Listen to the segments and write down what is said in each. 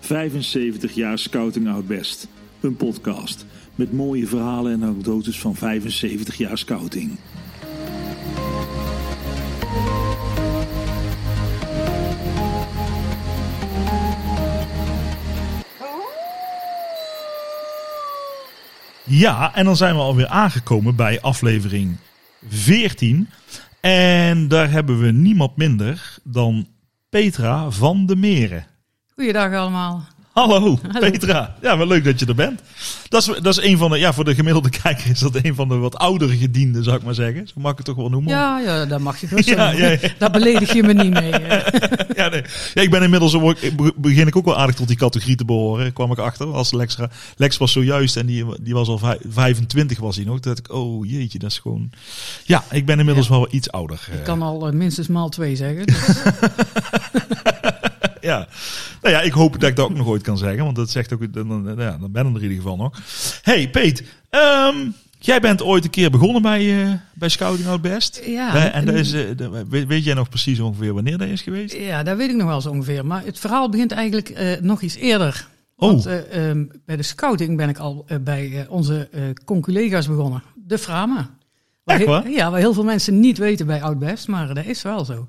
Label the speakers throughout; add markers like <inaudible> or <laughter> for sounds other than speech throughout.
Speaker 1: 75 jaar Scouting Out Best. Een podcast met mooie verhalen en anekdotes van 75 jaar Scouting.
Speaker 2: Ja, en dan zijn we alweer aangekomen bij aflevering 14. En daar hebben we niemand minder dan Petra van de Meren.
Speaker 3: Goeiedag allemaal.
Speaker 2: Hallo, Petra. Ja, wat leuk dat je er bent. Dat is, dat is een van de, ja, voor de gemiddelde <laughs> kijker is dat een van de wat oudere gedienden, zou ik maar zeggen. Zo mag ik het toch wel noemen.
Speaker 3: Ja, ja, dat mag je gerust
Speaker 2: Ja,
Speaker 3: zeggen.
Speaker 2: ja,
Speaker 3: <laughs>
Speaker 2: ja.
Speaker 3: Daar beledig je me niet mee. hè.
Speaker 2: <laughs> Ja, nee. ja, ik ben inmiddels ook, ik be- begin ik ook wel aardig tot die categorie te behoren, kwam ik achter. Als Lex, ra- Lex was zojuist en die, die was al vij- 25 was hij nog. Toen dacht ik, oh jeetje, dat is gewoon... Ja, ik ben inmiddels wel iets ouder.
Speaker 3: Ik
Speaker 2: eh.
Speaker 3: kan al eh, minstens maal twee zeggen. Dus
Speaker 2: <laughs> Ja. Nou ja, ik hoop dat ik dat ook nog ooit kan zeggen, want dat zegt ook, dan, dan, dan- ja, dan ben ik er in ieder geval nog. Hey Peet, ehm, jij bent ooit een keer begonnen bij, eh, bij Scouting Out Best.
Speaker 3: Ja.
Speaker 2: Eh, en dat is, eh, dat- weet, weet jij nog precies ongeveer wanneer dat is geweest?
Speaker 3: Dus, ja, dat weet ik nog wel zo ongeveer. Maar het verhaal begint eigenlijk eh, nog iets eerder.
Speaker 2: Oh.
Speaker 3: Want eh, ehm, bij de scouting ben ik al eh, bij eh, onze eh conculega's begonnen. De Frama. Waar
Speaker 2: Echt
Speaker 3: he-
Speaker 2: waar?
Speaker 3: Ja, waar heel veel mensen niet weten bij Oud-Best, maar dat is wel zo.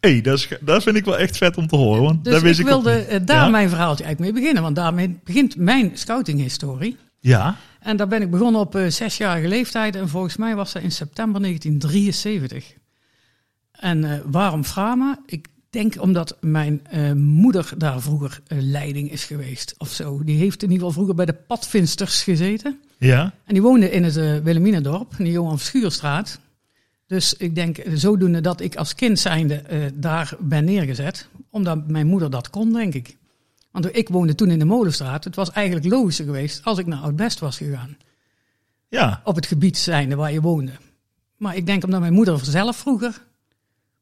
Speaker 2: hey, dat, is, dat vind ik wel echt vet om te horen, want
Speaker 3: Dus
Speaker 2: dat wist
Speaker 3: ik
Speaker 2: ik, ook
Speaker 3: wilde
Speaker 2: niet.
Speaker 3: eh, daar
Speaker 2: Ja?
Speaker 3: mijn verhaaltje eigenlijk mee beginnen, want daarmee begint mijn scoutinghistorie.
Speaker 2: Ja,
Speaker 3: En daar ben ik begonnen op eh, zesjarige leeftijd. En volgens mij was dat in september 1973. En eh, waarom Frama? Ik denk omdat mijn eh, moeder daar vroeger eh, leiding is geweest of zo. Die heeft in ieder geval vroeger bij de padvinsters gezeten.
Speaker 2: ja.
Speaker 3: En die woonde in het eh Wilhelminadorp, in de Johan Schuurstraat. Dus ik denk eh, zodoende dat ik als kind zijnde eh, daar ben neergezet. Omdat mijn moeder dat kon, denk ik. Want ik woonde toen in de Molenstraat. Het was eigenlijk logischer geweest als ik naar Oud-Best was gegaan
Speaker 2: Ja,
Speaker 3: op het gebied zijnde waar je woonde. Maar ik denk omdat mijn moeder zelf vroeger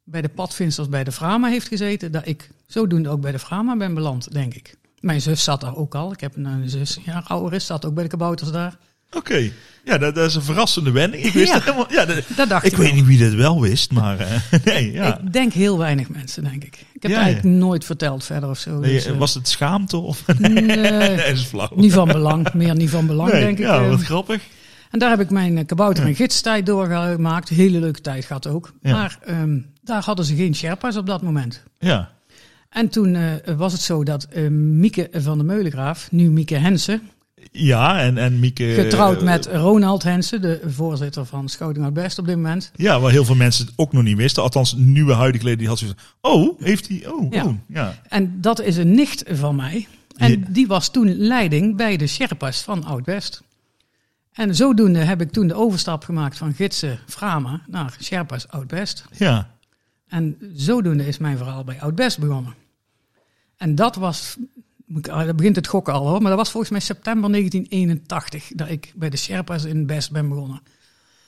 Speaker 3: bij de padvinsters bij de Frama heeft gezeten, dat ik zodoende ook bij de Frama ben beland, denk ik. Mijn zus zat daar ook al. Ik heb een, een zus, een jaar ouder is, zat ook bij de kabouters daar.
Speaker 2: oké. Ja, dat, dat is een verrassende wending. Ik wist
Speaker 3: Ja.
Speaker 2: het helemaal... Ja, dat-
Speaker 3: Dat dacht
Speaker 2: ik
Speaker 3: ik.
Speaker 2: weet
Speaker 3: wel.
Speaker 2: niet wie dit wel wist, maar... eh, <laughs> nee, ja.
Speaker 3: Ik denk heel weinig mensen, denk ik. Ik heb
Speaker 2: Ja,
Speaker 3: het eigenlijk nooit verteld verder of zo.
Speaker 2: Nee,
Speaker 3: dus, eh,
Speaker 2: was het schaamte of... <laughs>
Speaker 3: nee,
Speaker 2: Nee, dat is flauw.
Speaker 3: niet van belang, meer niet van belang,
Speaker 2: Nee,
Speaker 3: denk ik.
Speaker 2: ja,
Speaker 3: eh.
Speaker 2: wat grappig.
Speaker 3: En daar heb ik mijn eh, kabouter- en gidstijd doorgemaakt. Hele leuke tijd gehad ook.
Speaker 2: Ja.
Speaker 3: Maar ehm, daar hadden ze geen Sherpa's op dat moment.
Speaker 2: Ja.
Speaker 3: En toen eh, was het zo dat eh, Mieke van der Meulengraaf, nu Mieke Hensen,
Speaker 2: Ja, en, en Mieke...
Speaker 3: getrouwd
Speaker 2: eh,
Speaker 3: met Ronald Hensen, de voorzitter van Schouding uit Best op dit moment.
Speaker 2: Ja, waar heel veel mensen het ook nog niet wisten. Althans, nieuwe huidige leden die had zoiets van... Oh, heeft hij... Oh, ja.
Speaker 3: Ja.
Speaker 2: oh, ja.
Speaker 3: En dat is een nicht van mij. En
Speaker 2: Ja.
Speaker 3: die was toen leiding bij de Sherpas van Oud-West. En zodoende heb ik toen de overstap gemaakt van gidsen Frama naar Sherpas Oud-West.
Speaker 2: Ja.
Speaker 3: En zodoende is mijn verhaal bij Oud-Best begonnen. En dat was, moet ik- ah, daar begint het gokken al hoor, maar dat was volgens mij september 1981 dat ik bij de Sherpas in Best ben begonnen.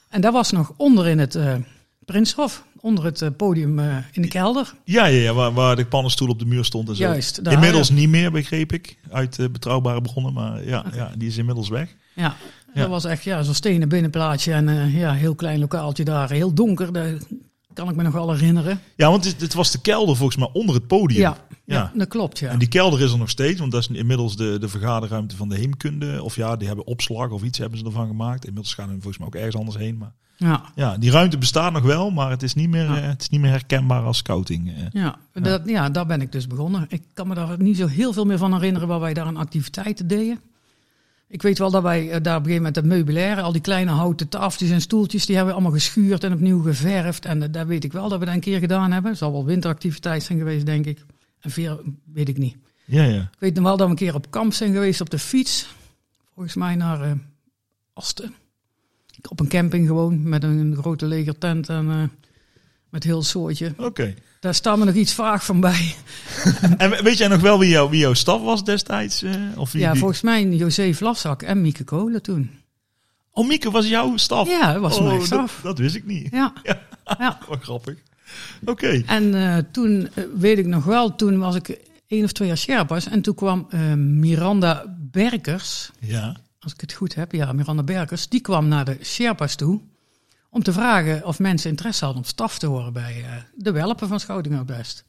Speaker 3: En dat was nog onder in het eh, Prinshof, onder het eh, podium eh, in de kelder.
Speaker 2: Ja, ja, ja, waar, waar de pannenstoel op de muur stond en zo.
Speaker 3: Juist, daar,
Speaker 2: Inmiddels
Speaker 3: ja.
Speaker 2: niet meer, begreep ik. Uit eh, Betrouwbare Begonnen, maar ja, ja, die is inmiddels weg.
Speaker 3: Ja,
Speaker 2: Ja.
Speaker 3: dat was echt ja, zo'n stenen binnenplaatsje en eh, ja, heel klein lokaaltje daar, heel donker, dat kan ik me nog wel herinneren.
Speaker 2: Ja, want het, het was de kelder volgens mij onder het podium.
Speaker 3: Ja,
Speaker 2: Ja.
Speaker 3: ja, dat klopt ja.
Speaker 2: En die kelder is er nog steeds, want dat is inmiddels de, de vergaderruimte van de heemkunde. Of ja, die hebben opslag of iets hebben ze ervan gemaakt. Inmiddels gaan ze volgens mij ook ergens anders heen. Maar
Speaker 3: ja.
Speaker 2: Ja, die ruimte bestaat nog wel, maar het is niet meer,
Speaker 3: Ja.
Speaker 2: eh, het is niet meer herkenbaar als scouting. eh.
Speaker 3: Ja, dat, ja, daar ben ik dus begonnen. Ik kan me daar niet zo heel veel meer van herinneren waar wij daar aan activiteiten deden. Ik weet wel dat wij eh, daar op een gegeven moment het meubilair, al die kleine houten tafeltjes en stoeltjes, die hebben we allemaal geschuurd en opnieuw geverfd. En eh, dat weet ik wel dat we dat een keer gedaan hebben. Zal wel winteractiviteit zijn geweest, denk ik. En veel weet ik niet.
Speaker 2: Ja, ja.
Speaker 3: Ik weet nog wel dat we een keer op kamp zijn geweest op de fiets. Volgens mij naar eh, Asten. Op een camping gewoon, met een grote legertent en eh, met heel soortje.
Speaker 2: Oké.
Speaker 3: Daar staan me nog iets vaag van
Speaker 2: <laughs>
Speaker 3: bij.
Speaker 2: En weet jij nog wel wie, jou, wie jouw staf was destijds? eh, of wie,
Speaker 3: Ja,
Speaker 2: wie-
Speaker 3: volgens mij José Vlasak en Mieke Kolen toen.
Speaker 2: Oh, Mieke was jouw staf?
Speaker 3: Ja, dat was
Speaker 2: Oh,
Speaker 3: mijn
Speaker 2: dat-
Speaker 3: straf.
Speaker 2: Dat, wist ik niet. <laughs>
Speaker 3: Ja.
Speaker 2: Ja.
Speaker 3: ja.
Speaker 2: Wat grappig. Oké.
Speaker 3: En eh, toen, eh, weet ik nog wel, toen was ik één of twee jaar Sherpas. En toen kwam eh, Miranda Berkers,
Speaker 2: Ja.
Speaker 3: als ik het goed heb, ja, Miranda Berkers. Die kwam naar de Sherpas toe om te vragen of mensen interesse hadden om staf te horen bij eh, de welpen van Schoudingen Best.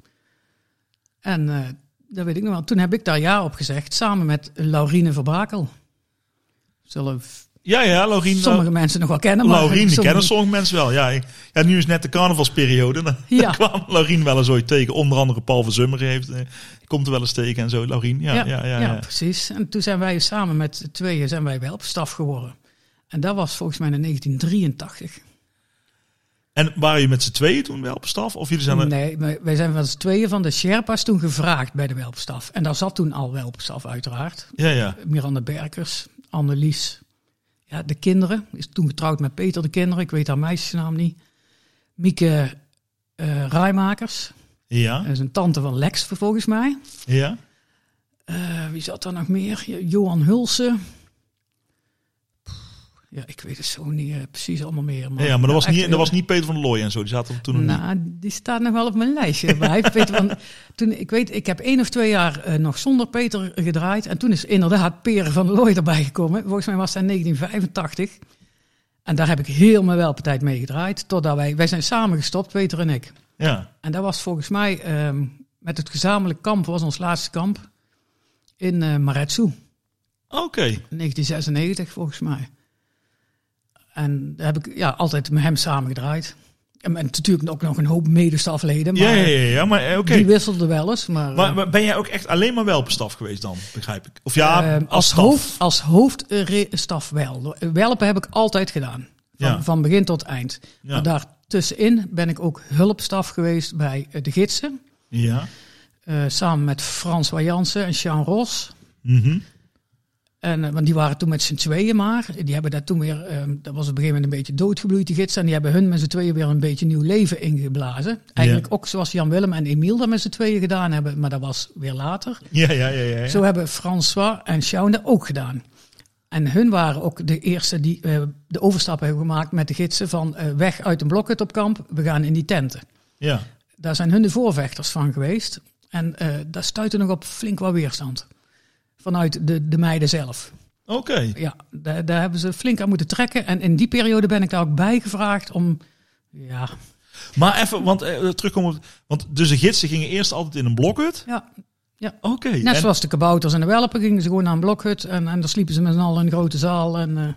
Speaker 3: En eh, Dat weet ik nog wel. Toen heb ik daar ja op gezegd, samen met Laurine Verbrakel. Zullen v-
Speaker 2: Ja, ja, Laurien. eh,
Speaker 3: sommige mensen nog wel kennen. Maar
Speaker 2: Laurien, die
Speaker 3: sommige-
Speaker 2: kennen sommige mensen wel. Ja, ik- ja, nu is net de carnavalsperiode. Dan, <laughs> dan
Speaker 3: Ja.
Speaker 2: kwam Laurien wel eens ooit tegen. Onder andere Paul van Zummer heeft, eh, komt er wel eens tegen en zo. Laurien, ja, ja, ja. ja,
Speaker 3: precies. En toen zijn wij samen met z'n tweeën zijn wij bij helpstaf geworden. En dat was volgens mij in 1983.
Speaker 2: En waren je met z'n tweeën toen wel op staf? Of jullie zijn er...
Speaker 3: Nee, maar wij zijn van z'n tweeën van de Sherpa's toen gevraagd bij de welpstaf. En daar zat toen al welpstaf uiteraard.
Speaker 2: Ja, ja.
Speaker 3: Miranda Berkers, Annelies. Ja, de kinderen. Is toen getrouwd met Peter de kinderen. Ik weet haar meisjesnaam niet. Mieke eh Rijmakers.
Speaker 2: Ja,
Speaker 3: Dat is een tante van Lex volgens mij.
Speaker 2: ja.
Speaker 3: Eh, wie zat daar nog meer? Jo- Johan Hulsen. Ja, ik weet het zo niet eh, precies allemaal meer. Maar,
Speaker 2: Ja, maar dat was,
Speaker 3: echt
Speaker 2: niet, dat
Speaker 3: heel-
Speaker 2: was niet Peter van der Looy en zo. Die zaten er toen nog niet.
Speaker 3: Nou, die staat nog wel op mijn lijstje. Maar hij, Peter, want toen, ik weet, ik heb één of twee jaar eh, nog zonder Peter gedraaid. En toen is inderdaad Peren van der Looy erbij gekomen. Volgens mij was dat in 1985. En daar heb ik heel mijn welpartij mee gedraaid. Totdat wij, wij zijn samen gestopt, Peter en ik.
Speaker 2: Ja,
Speaker 3: En dat was volgens mij ehm, met het gezamenlijk kamp, was ons laatste kamp. In eh Maretsu.
Speaker 2: oké.
Speaker 3: 1996 volgens mij. En daar heb ik ja, altijd met hem samengedraaid. En, en natuurlijk ook nog een hoop medestafleden, maar
Speaker 2: Ja, ja, ja, ja, maar eh, oké.
Speaker 3: die wisselden wel eens. Maar,
Speaker 2: Maar,
Speaker 3: eh,
Speaker 2: maar ben jij ook echt alleen maar wel op staf geweest dan, begrijp ik? Of ja,
Speaker 3: ehm,
Speaker 2: als,
Speaker 3: als,
Speaker 2: staf.
Speaker 3: hoofd, als hoofdstaf wel. Welpen heb ik altijd gedaan. Van,
Speaker 2: Ja.
Speaker 3: van begin tot eind.
Speaker 2: Ja.
Speaker 3: Maar daartussenin ben ik ook hulpstaf geweest bij eh, de gidsen.
Speaker 2: Ja.
Speaker 3: eh, samen met Frans Wajansen en Jean Ros.
Speaker 2: Mhm.
Speaker 3: En, eh, want die waren toen met z'n tweeën maar. Die hebben daar toen weer, ehm, dat was op een gegeven moment een beetje doodgebloeid, die gidsen. En die hebben hun met z'n tweeën weer een beetje nieuw leven ingeblazen. Eigenlijk ook zoals Jan Willem en Emiel dat met z'n tweeën gedaan hebben. Maar dat was weer later.
Speaker 2: ja, ja, ja, ja. ja.
Speaker 3: Zo hebben François en Sjaun dat ook gedaan. En hun waren ook de eerste die eh, de overstap hebben gemaakt met de gidsen van eh, weg uit een blokhut op kamp, we gaan in die tenten.
Speaker 2: ja.
Speaker 3: Daar zijn hun de voorvechters van geweest. En eh, daar stuitte nog op flink wat weerstand. Vanuit de, de meiden zelf.
Speaker 2: Oké.
Speaker 3: Ja, daar, daar hebben ze flink aan moeten trekken. En in die periode ben ik daar ook bij gevraagd om. Ja,
Speaker 2: Maar even, want eh, terugkomen op... Want dus de gidsen gingen eerst altijd in een blokhut?
Speaker 3: ja.
Speaker 2: Oké.
Speaker 3: net
Speaker 2: en-
Speaker 3: zoals de kabouters en de welpen gingen ze gewoon naar een blokhut. En, en daar sliepen ze met z'n allen in een grote zaal. En, eh,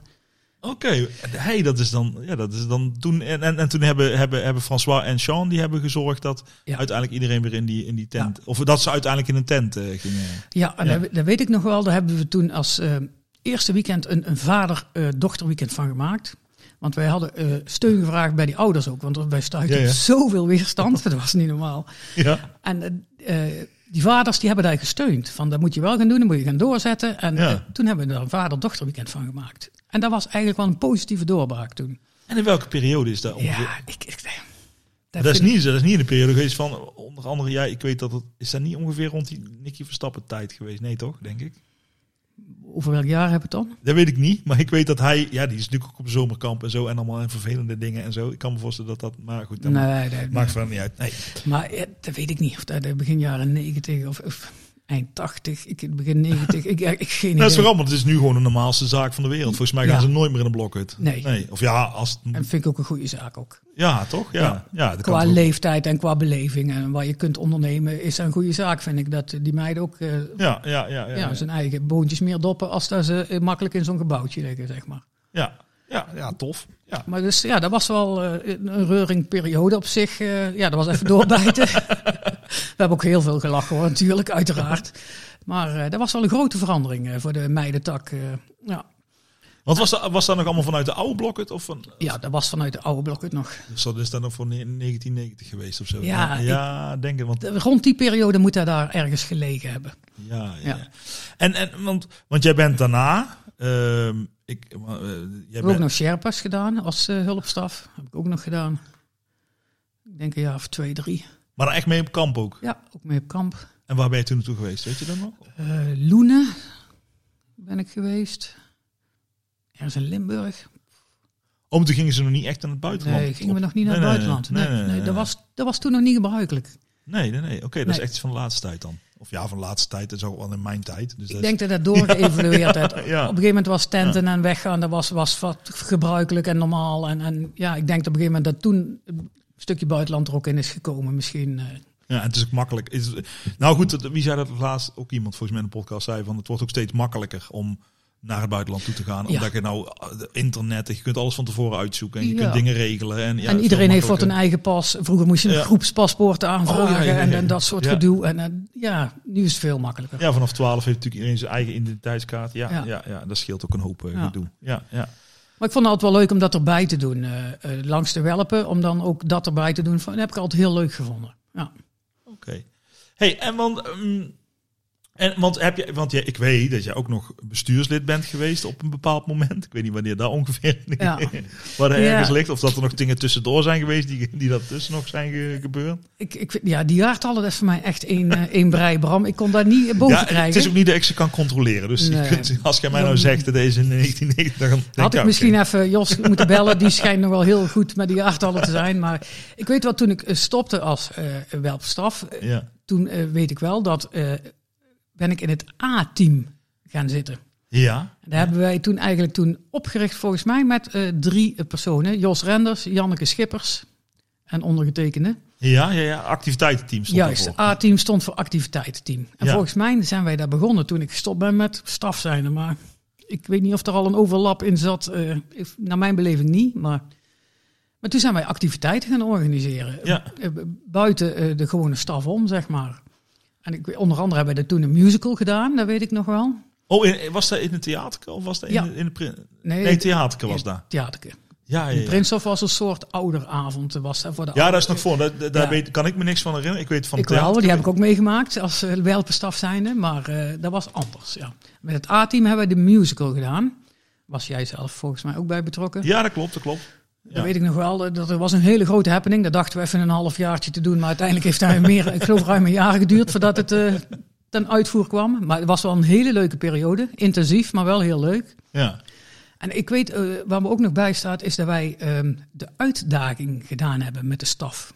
Speaker 2: Oké, hey, dat is dan, ja, dat is dan toen en, en, en toen hebben, hebben, hebben François en Sean die hebben gezorgd dat
Speaker 3: Ja.
Speaker 2: uiteindelijk iedereen weer in die, in die tent, of dat ze uiteindelijk in een tent eh, gingen.
Speaker 3: ja, en
Speaker 2: Ja.
Speaker 3: Dat, dat weet ik nog wel. Daar hebben we toen als eh, eerste weekend een, een vader-dochterweekend van gemaakt. Want wij hadden eh, steun gevraagd bij die ouders ook. Want wij stuiten
Speaker 2: Ja, ja.
Speaker 3: op zoveel weerstand. <laughs> Dat was niet normaal.
Speaker 2: Ja,
Speaker 3: En eh, eh, die vaders die hebben daar gesteund. Van dat moet je wel gaan doen, dat moet je gaan doorzetten. En
Speaker 2: Ja.
Speaker 3: eh, toen hebben we daar een vader-dochterweekend van gemaakt. En dat was eigenlijk wel een positieve doorbraak toen.
Speaker 2: en in welke periode is dat? ongeveer?
Speaker 3: Ja, ik, ik, dat
Speaker 2: Oh, dat, is
Speaker 3: vind ik-
Speaker 2: niet, dat is niet in de periode geweest van onder andere, ja, ik weet dat het is dat niet ongeveer rond die Nicky Verstappen tijd geweest, nee toch, denk ik.
Speaker 3: Over welk jaar heb je het dan?
Speaker 2: Dat weet ik niet, maar ik weet dat hij, ja, die is natuurlijk ook op zomerkamp en zo en allemaal en vervelende dingen en zo. Ik kan me voorstellen dat dat, maar goed, dat
Speaker 3: nee, nee,
Speaker 2: maakt verder niet uit. Nee. Nou,
Speaker 3: Maar eh, dat weet ik niet. Of dat eh, begin jaren 90 of, of eind 80, ik, begin 90. ik, eh, ik, ik geen
Speaker 2: Dat is
Speaker 3: idee.
Speaker 2: veranderd. Het is nu gewoon de normaalste zaak van de wereld. Volgens mij gaan
Speaker 3: Ja.
Speaker 2: ze nooit meer in een blokhut.
Speaker 3: Nee.
Speaker 2: Of ja, als het-
Speaker 3: En vind ik ook een goede zaak ook.
Speaker 2: ja, toch? Ja. Ja.
Speaker 3: Ja.
Speaker 2: dat kan
Speaker 3: Qua
Speaker 2: toch ook.
Speaker 3: leeftijd en qua beleving en wat je kunt ondernemen is dat een goede zaak, vind ik. Dat die meiden ook eh,
Speaker 2: ja, ja, ja, ja,
Speaker 3: ja,
Speaker 2: ja,
Speaker 3: zijn eigen boontjes meer doppen als dat ze eh, makkelijk in zo'n gebouwtje liggen, zeg maar.
Speaker 2: ja, ja, ja, tof. Ja.
Speaker 3: Maar dus ja, dat was wel eh, een reuringperiode op zich. eh, ja, dat was even doorbijten. <laughs> We hebben ook heel veel gelachen hoor, natuurlijk, uiteraard. Maar eh, dat was wel een grote verandering eh, voor de meidentak. eh, ja.
Speaker 2: Want was dat, was dat nog allemaal vanuit de oude blokhut? Of van,
Speaker 3: ja, dat was vanuit de oude blokhut nog.
Speaker 2: dus dat is dat nog voor ne- 1990 geweest of zo?
Speaker 3: Ja,
Speaker 2: ja, ja, denk ik. Want, ja,
Speaker 3: De- Rond die periode moet hij daar ergens gelegen hebben.
Speaker 2: ja,
Speaker 3: Ja.
Speaker 2: ja. En, en, want, want jij bent daarna... ehm, ik, eh, jij
Speaker 3: Ik heb ook
Speaker 2: bent,
Speaker 3: nog Sherpas gedaan als eh, hulpstaf. Heb ik ook nog gedaan. Ik denk een jaar of twee, drie.
Speaker 2: maar echt mee op kamp ook.
Speaker 3: Ja, ook mee op kamp.
Speaker 2: En waar ben je toen naartoe geweest? Weet je dat nog?
Speaker 3: Eh Loenen ben ik geweest. Ergens in Limburg.
Speaker 2: Om Oh, toen gingen ze nog niet echt aan het buitenland.
Speaker 3: Nee, gingen we nog niet naar
Speaker 2: Nee,
Speaker 3: het
Speaker 2: nee,
Speaker 3: buitenland. Nee, nee, dat, was, dat was toen nog niet gebruikelijk.
Speaker 2: Nee, nee, nee. Oké, dat is
Speaker 3: Nee.
Speaker 2: echt iets van de laatste tijd dan. Of ja, van de laatste tijd. Dat is ook wel in mijn tijd. Dus dat
Speaker 3: Ik
Speaker 2: is-
Speaker 3: denk dat dat
Speaker 2: <laughs>
Speaker 3: doorgeëvalueerd werd. Op
Speaker 2: ja.
Speaker 3: een gegeven moment was tenten en weggaan, dat was, was wat gebruikelijk en normaal. En, en ja, ik denk dat op een gegeven moment dat toen een stukje buitenland er ook in is gekomen misschien. eh.
Speaker 2: Ja, het is ook makkelijk. Het is- nou goed, dat- wie zei dat laatst? Ook iemand volgens mij in de podcast zei van het wordt ook steeds makkelijker om naar het buitenland toe te gaan.
Speaker 3: Ja.
Speaker 2: Omdat je nou eh, internet, je kunt alles van tevoren uitzoeken en je
Speaker 3: Ja.
Speaker 2: kunt dingen regelen. En, ja,
Speaker 3: en
Speaker 2: veel
Speaker 3: iedereen heeft wat een
Speaker 2: makkelijker.
Speaker 3: eigen pas. Vroeger moest je een
Speaker 2: Ja.
Speaker 3: groepspaspoort aanvragen
Speaker 2: Oh, ja, ja, ja,
Speaker 3: En,
Speaker 2: ja.
Speaker 3: en dat soort
Speaker 2: Ja.
Speaker 3: gedoe. En, en ja, nu is het veel makkelijker.
Speaker 2: Ja, vanaf 12 heeft natuurlijk iedereen zijn eigen identiteitskaart. Ja, ja.
Speaker 3: Ja.
Speaker 2: ja, dat scheelt ook een hoop eh,
Speaker 3: Ja.
Speaker 2: gedoe. Ja, ja.
Speaker 3: Maar ik vond het altijd wel leuk om dat erbij te doen. eh, eh, langs de welpen, om dan ook dat erbij te doen. Van- Dat heb ik altijd heel leuk gevonden. Ja.
Speaker 2: Oké. Hey, en want, ehm, en want heb je, want jij, ik weet dat jij ook nog bestuurslid bent geweest op een bepaald moment. Ik weet niet wanneer dat ongeveer <laughs>
Speaker 3: Ja.
Speaker 2: wat er
Speaker 3: Ja.
Speaker 2: ergens ligt, of dat er nog dingen tussendoor zijn geweest die, die dat tussen nog zijn ge- gebeurd.
Speaker 3: Ik, ik, vind- ja, die jaartallen, dat is voor mij echt één, eh, één brei, Bram. Ik kon daar niet eh, boven
Speaker 2: ja,
Speaker 3: krijgen.
Speaker 2: het is ook niet dat ik ze kan controleren. Dus je
Speaker 3: Nee.
Speaker 2: kunt- als jij mij nou zegt dat deze in 1990, dan denk "Ah,
Speaker 3: Had ik
Speaker 2: oké.
Speaker 3: misschien even
Speaker 2: <laughs>
Speaker 3: Jos moeten bellen. Die schijnt nog wel heel goed met die jaartallen te zijn. Maar ik weet wel, toen ik eh, stopte als eh welpstaf, eh,
Speaker 2: Ja.
Speaker 3: toen eh, weet ik wel dat eh, ben ik in het A-team gaan zitten.
Speaker 2: Ja.
Speaker 3: Daar hebben wij toen eigenlijk toen opgericht, volgens mij, met eh, drie eh, personen. Jos Renders, Janneke Schippers en ondergetekende.
Speaker 2: Ja, ja, ja, activiteitenteam stond
Speaker 3: Juist,
Speaker 2: daarvoor.
Speaker 3: A-team stond voor activiteitenteam. En
Speaker 2: Ja.
Speaker 3: volgens mij zijn wij daar begonnen toen ik gestopt ben met staf zijn. Maar ik weet niet of er al een overlap in zat. eh, ik- naar mijn beleving niet, maar... Maar toen zijn wij activiteiten gaan organiseren.
Speaker 2: Ja.
Speaker 3: Eh, b- Buiten eh, de gewone staf om, zeg maar. En ik, weet- onder andere hebben we toen een musical gedaan, dat weet ik nog wel.
Speaker 2: Oh, in- was dat in het theater of was dat in,
Speaker 3: Ja.
Speaker 2: de, in de prin-
Speaker 3: Nee,
Speaker 2: Nee, theater was daar.
Speaker 3: Theaterke.
Speaker 2: Ja, ja, ja.
Speaker 3: Prinshof was een soort ouderavond. eh, Was daar voor de
Speaker 2: Ja,
Speaker 3: ouder-
Speaker 2: daar is nog voor. Daar, daar daar
Speaker 3: Ja.
Speaker 2: weet, kan ik me niks van herinneren. Ik weet van
Speaker 3: Ik wel, die heb ik ook meegemaakt als eh, welpenstaf zijnde, maar eh, dat was anders. Ja. Met het A-team hebben we de musical gedaan. Was jij zelf volgens mij ook bij betrokken?
Speaker 2: Ja, dat klopt, dat klopt.
Speaker 3: Dat weet ik nog wel. eh, Dat er was een hele grote happening. Dat dachten we even een half jaartje te doen, maar uiteindelijk heeft daar meer, ik geloof ruim een jaar geduurd voordat het eh, ten uitvoer kwam. Maar het was wel een hele leuke periode. Intensief, maar wel heel leuk.
Speaker 2: Ja.
Speaker 3: En ik weet, eh, waar me ook nog bij staat, is dat wij ehm, de uitdaging gedaan hebben met de staf.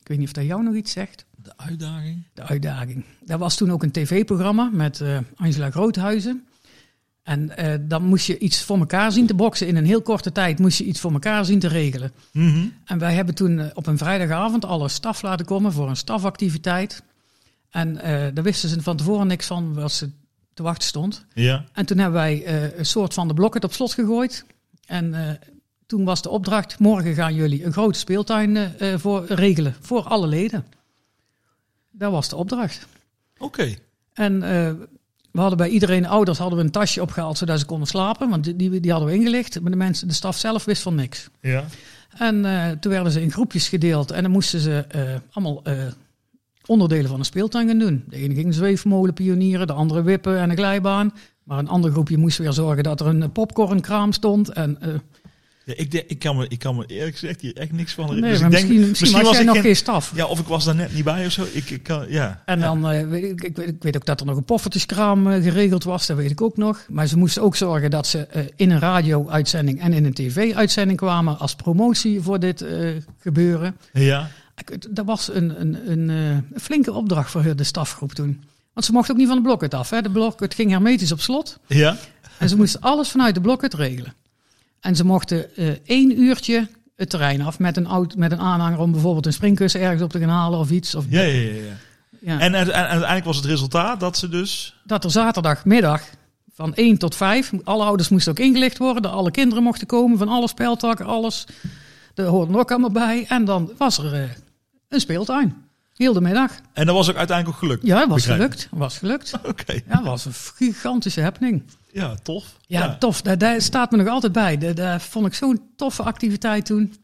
Speaker 3: Ik weet niet of dat jou nog iets zegt.
Speaker 2: De uitdaging.
Speaker 3: De uitdaging. Daar was toen ook een tv-programma met eh, Angela Groothuizen. En eh, dan moest je iets voor elkaar zien te boksen. In een heel korte tijd moest je iets voor elkaar zien te regelen.
Speaker 2: Mhm.
Speaker 3: En wij hebben toen eh, op een vrijdagavond alle staf laten komen voor een stafactiviteit. En eh, daar wisten ze van tevoren niks van wat ze te wachten stond.
Speaker 2: Ja.
Speaker 3: En toen hebben wij eh, een soort van de blokken op slot gegooid. En eh, toen was de opdracht: morgen gaan jullie een grote speeltuin eh, eh, voor regelen voor alle leden. Dat was de opdracht.
Speaker 2: Oké.
Speaker 3: En eh, we hadden bij iedereen ouders hadden we een tasje opgehaald zodat ze konden slapen, want die- die, die hadden we ingelicht. Maar de mensen, de staf zelf wist van niks.
Speaker 2: Ja.
Speaker 3: En eh, toen werden ze in groepjes gedeeld en dan moesten ze eh, allemaal eh, onderdelen van een speeltuin gaan doen. De ene ging een zweefmolen pionieren, de andere wippen en een glijbaan. Maar een ander groepje moest weer zorgen dat er een eh, popcornkraam stond. En, eh,
Speaker 2: Ja, dus ik, denk- ik, kan me, ik kan me eerlijk gezegd hier echt niks van
Speaker 3: nee,
Speaker 2: herinneren.
Speaker 3: maar
Speaker 2: dus ik denk,
Speaker 3: misschien, misschien, was jij nog
Speaker 2: geen-
Speaker 3: geen staf.
Speaker 2: Ja, of ik was daar net niet bij of zo. Ik, ik kan, ja.
Speaker 3: En
Speaker 2: Ja.
Speaker 3: dan, eh, weet ik, ik, weet, ik weet ook dat er nog een poffertjeskraam eh, geregeld was, dat weet ik ook nog. Maar ze moesten ook zorgen dat ze eh, in een radio-uitzending en in een tv-uitzending kwamen als promotie voor dit eh, gebeuren.
Speaker 2: Ja.
Speaker 3: Ik- het- Dat was een, een, een eh, flinke opdracht voor de stafgroep toen. Want ze mochten ook niet van de blokket af. Hè. De blokket ging hermetisch op slot.
Speaker 2: Ja.
Speaker 3: En ze moesten alles vanuit de blokket regelen. En ze mochten eh, één uurtje het terrein af met een, oud, met een aanhanger om bijvoorbeeld een springkussen ergens op te gaan halen of iets. Of,
Speaker 2: Ja, ja, ja, ja.
Speaker 3: ja.
Speaker 2: En, uite- en uiteindelijk was het resultaat dat ze dus...
Speaker 3: dat er zaterdagmiddag van 1 tot 5, alle ouders moesten ook ingelicht worden, dat alle kinderen mochten komen van alle speltakken, alles. Daar hoorden ook allemaal bij. En dan was er eh, een speeltuin. Heel de middag.
Speaker 2: En dat was ook uiteindelijk ook gelukt.
Speaker 3: Ja, het was
Speaker 2: Begrijp ik.
Speaker 3: gelukt. Het was gelukt.
Speaker 2: Oké.
Speaker 3: Ja, het was een gigantische happening.
Speaker 2: Ja, tof.
Speaker 3: Ja, tof. Daar, daar staat me nog altijd bij. Daar, daar vond ik zo'n toffe activiteit toen.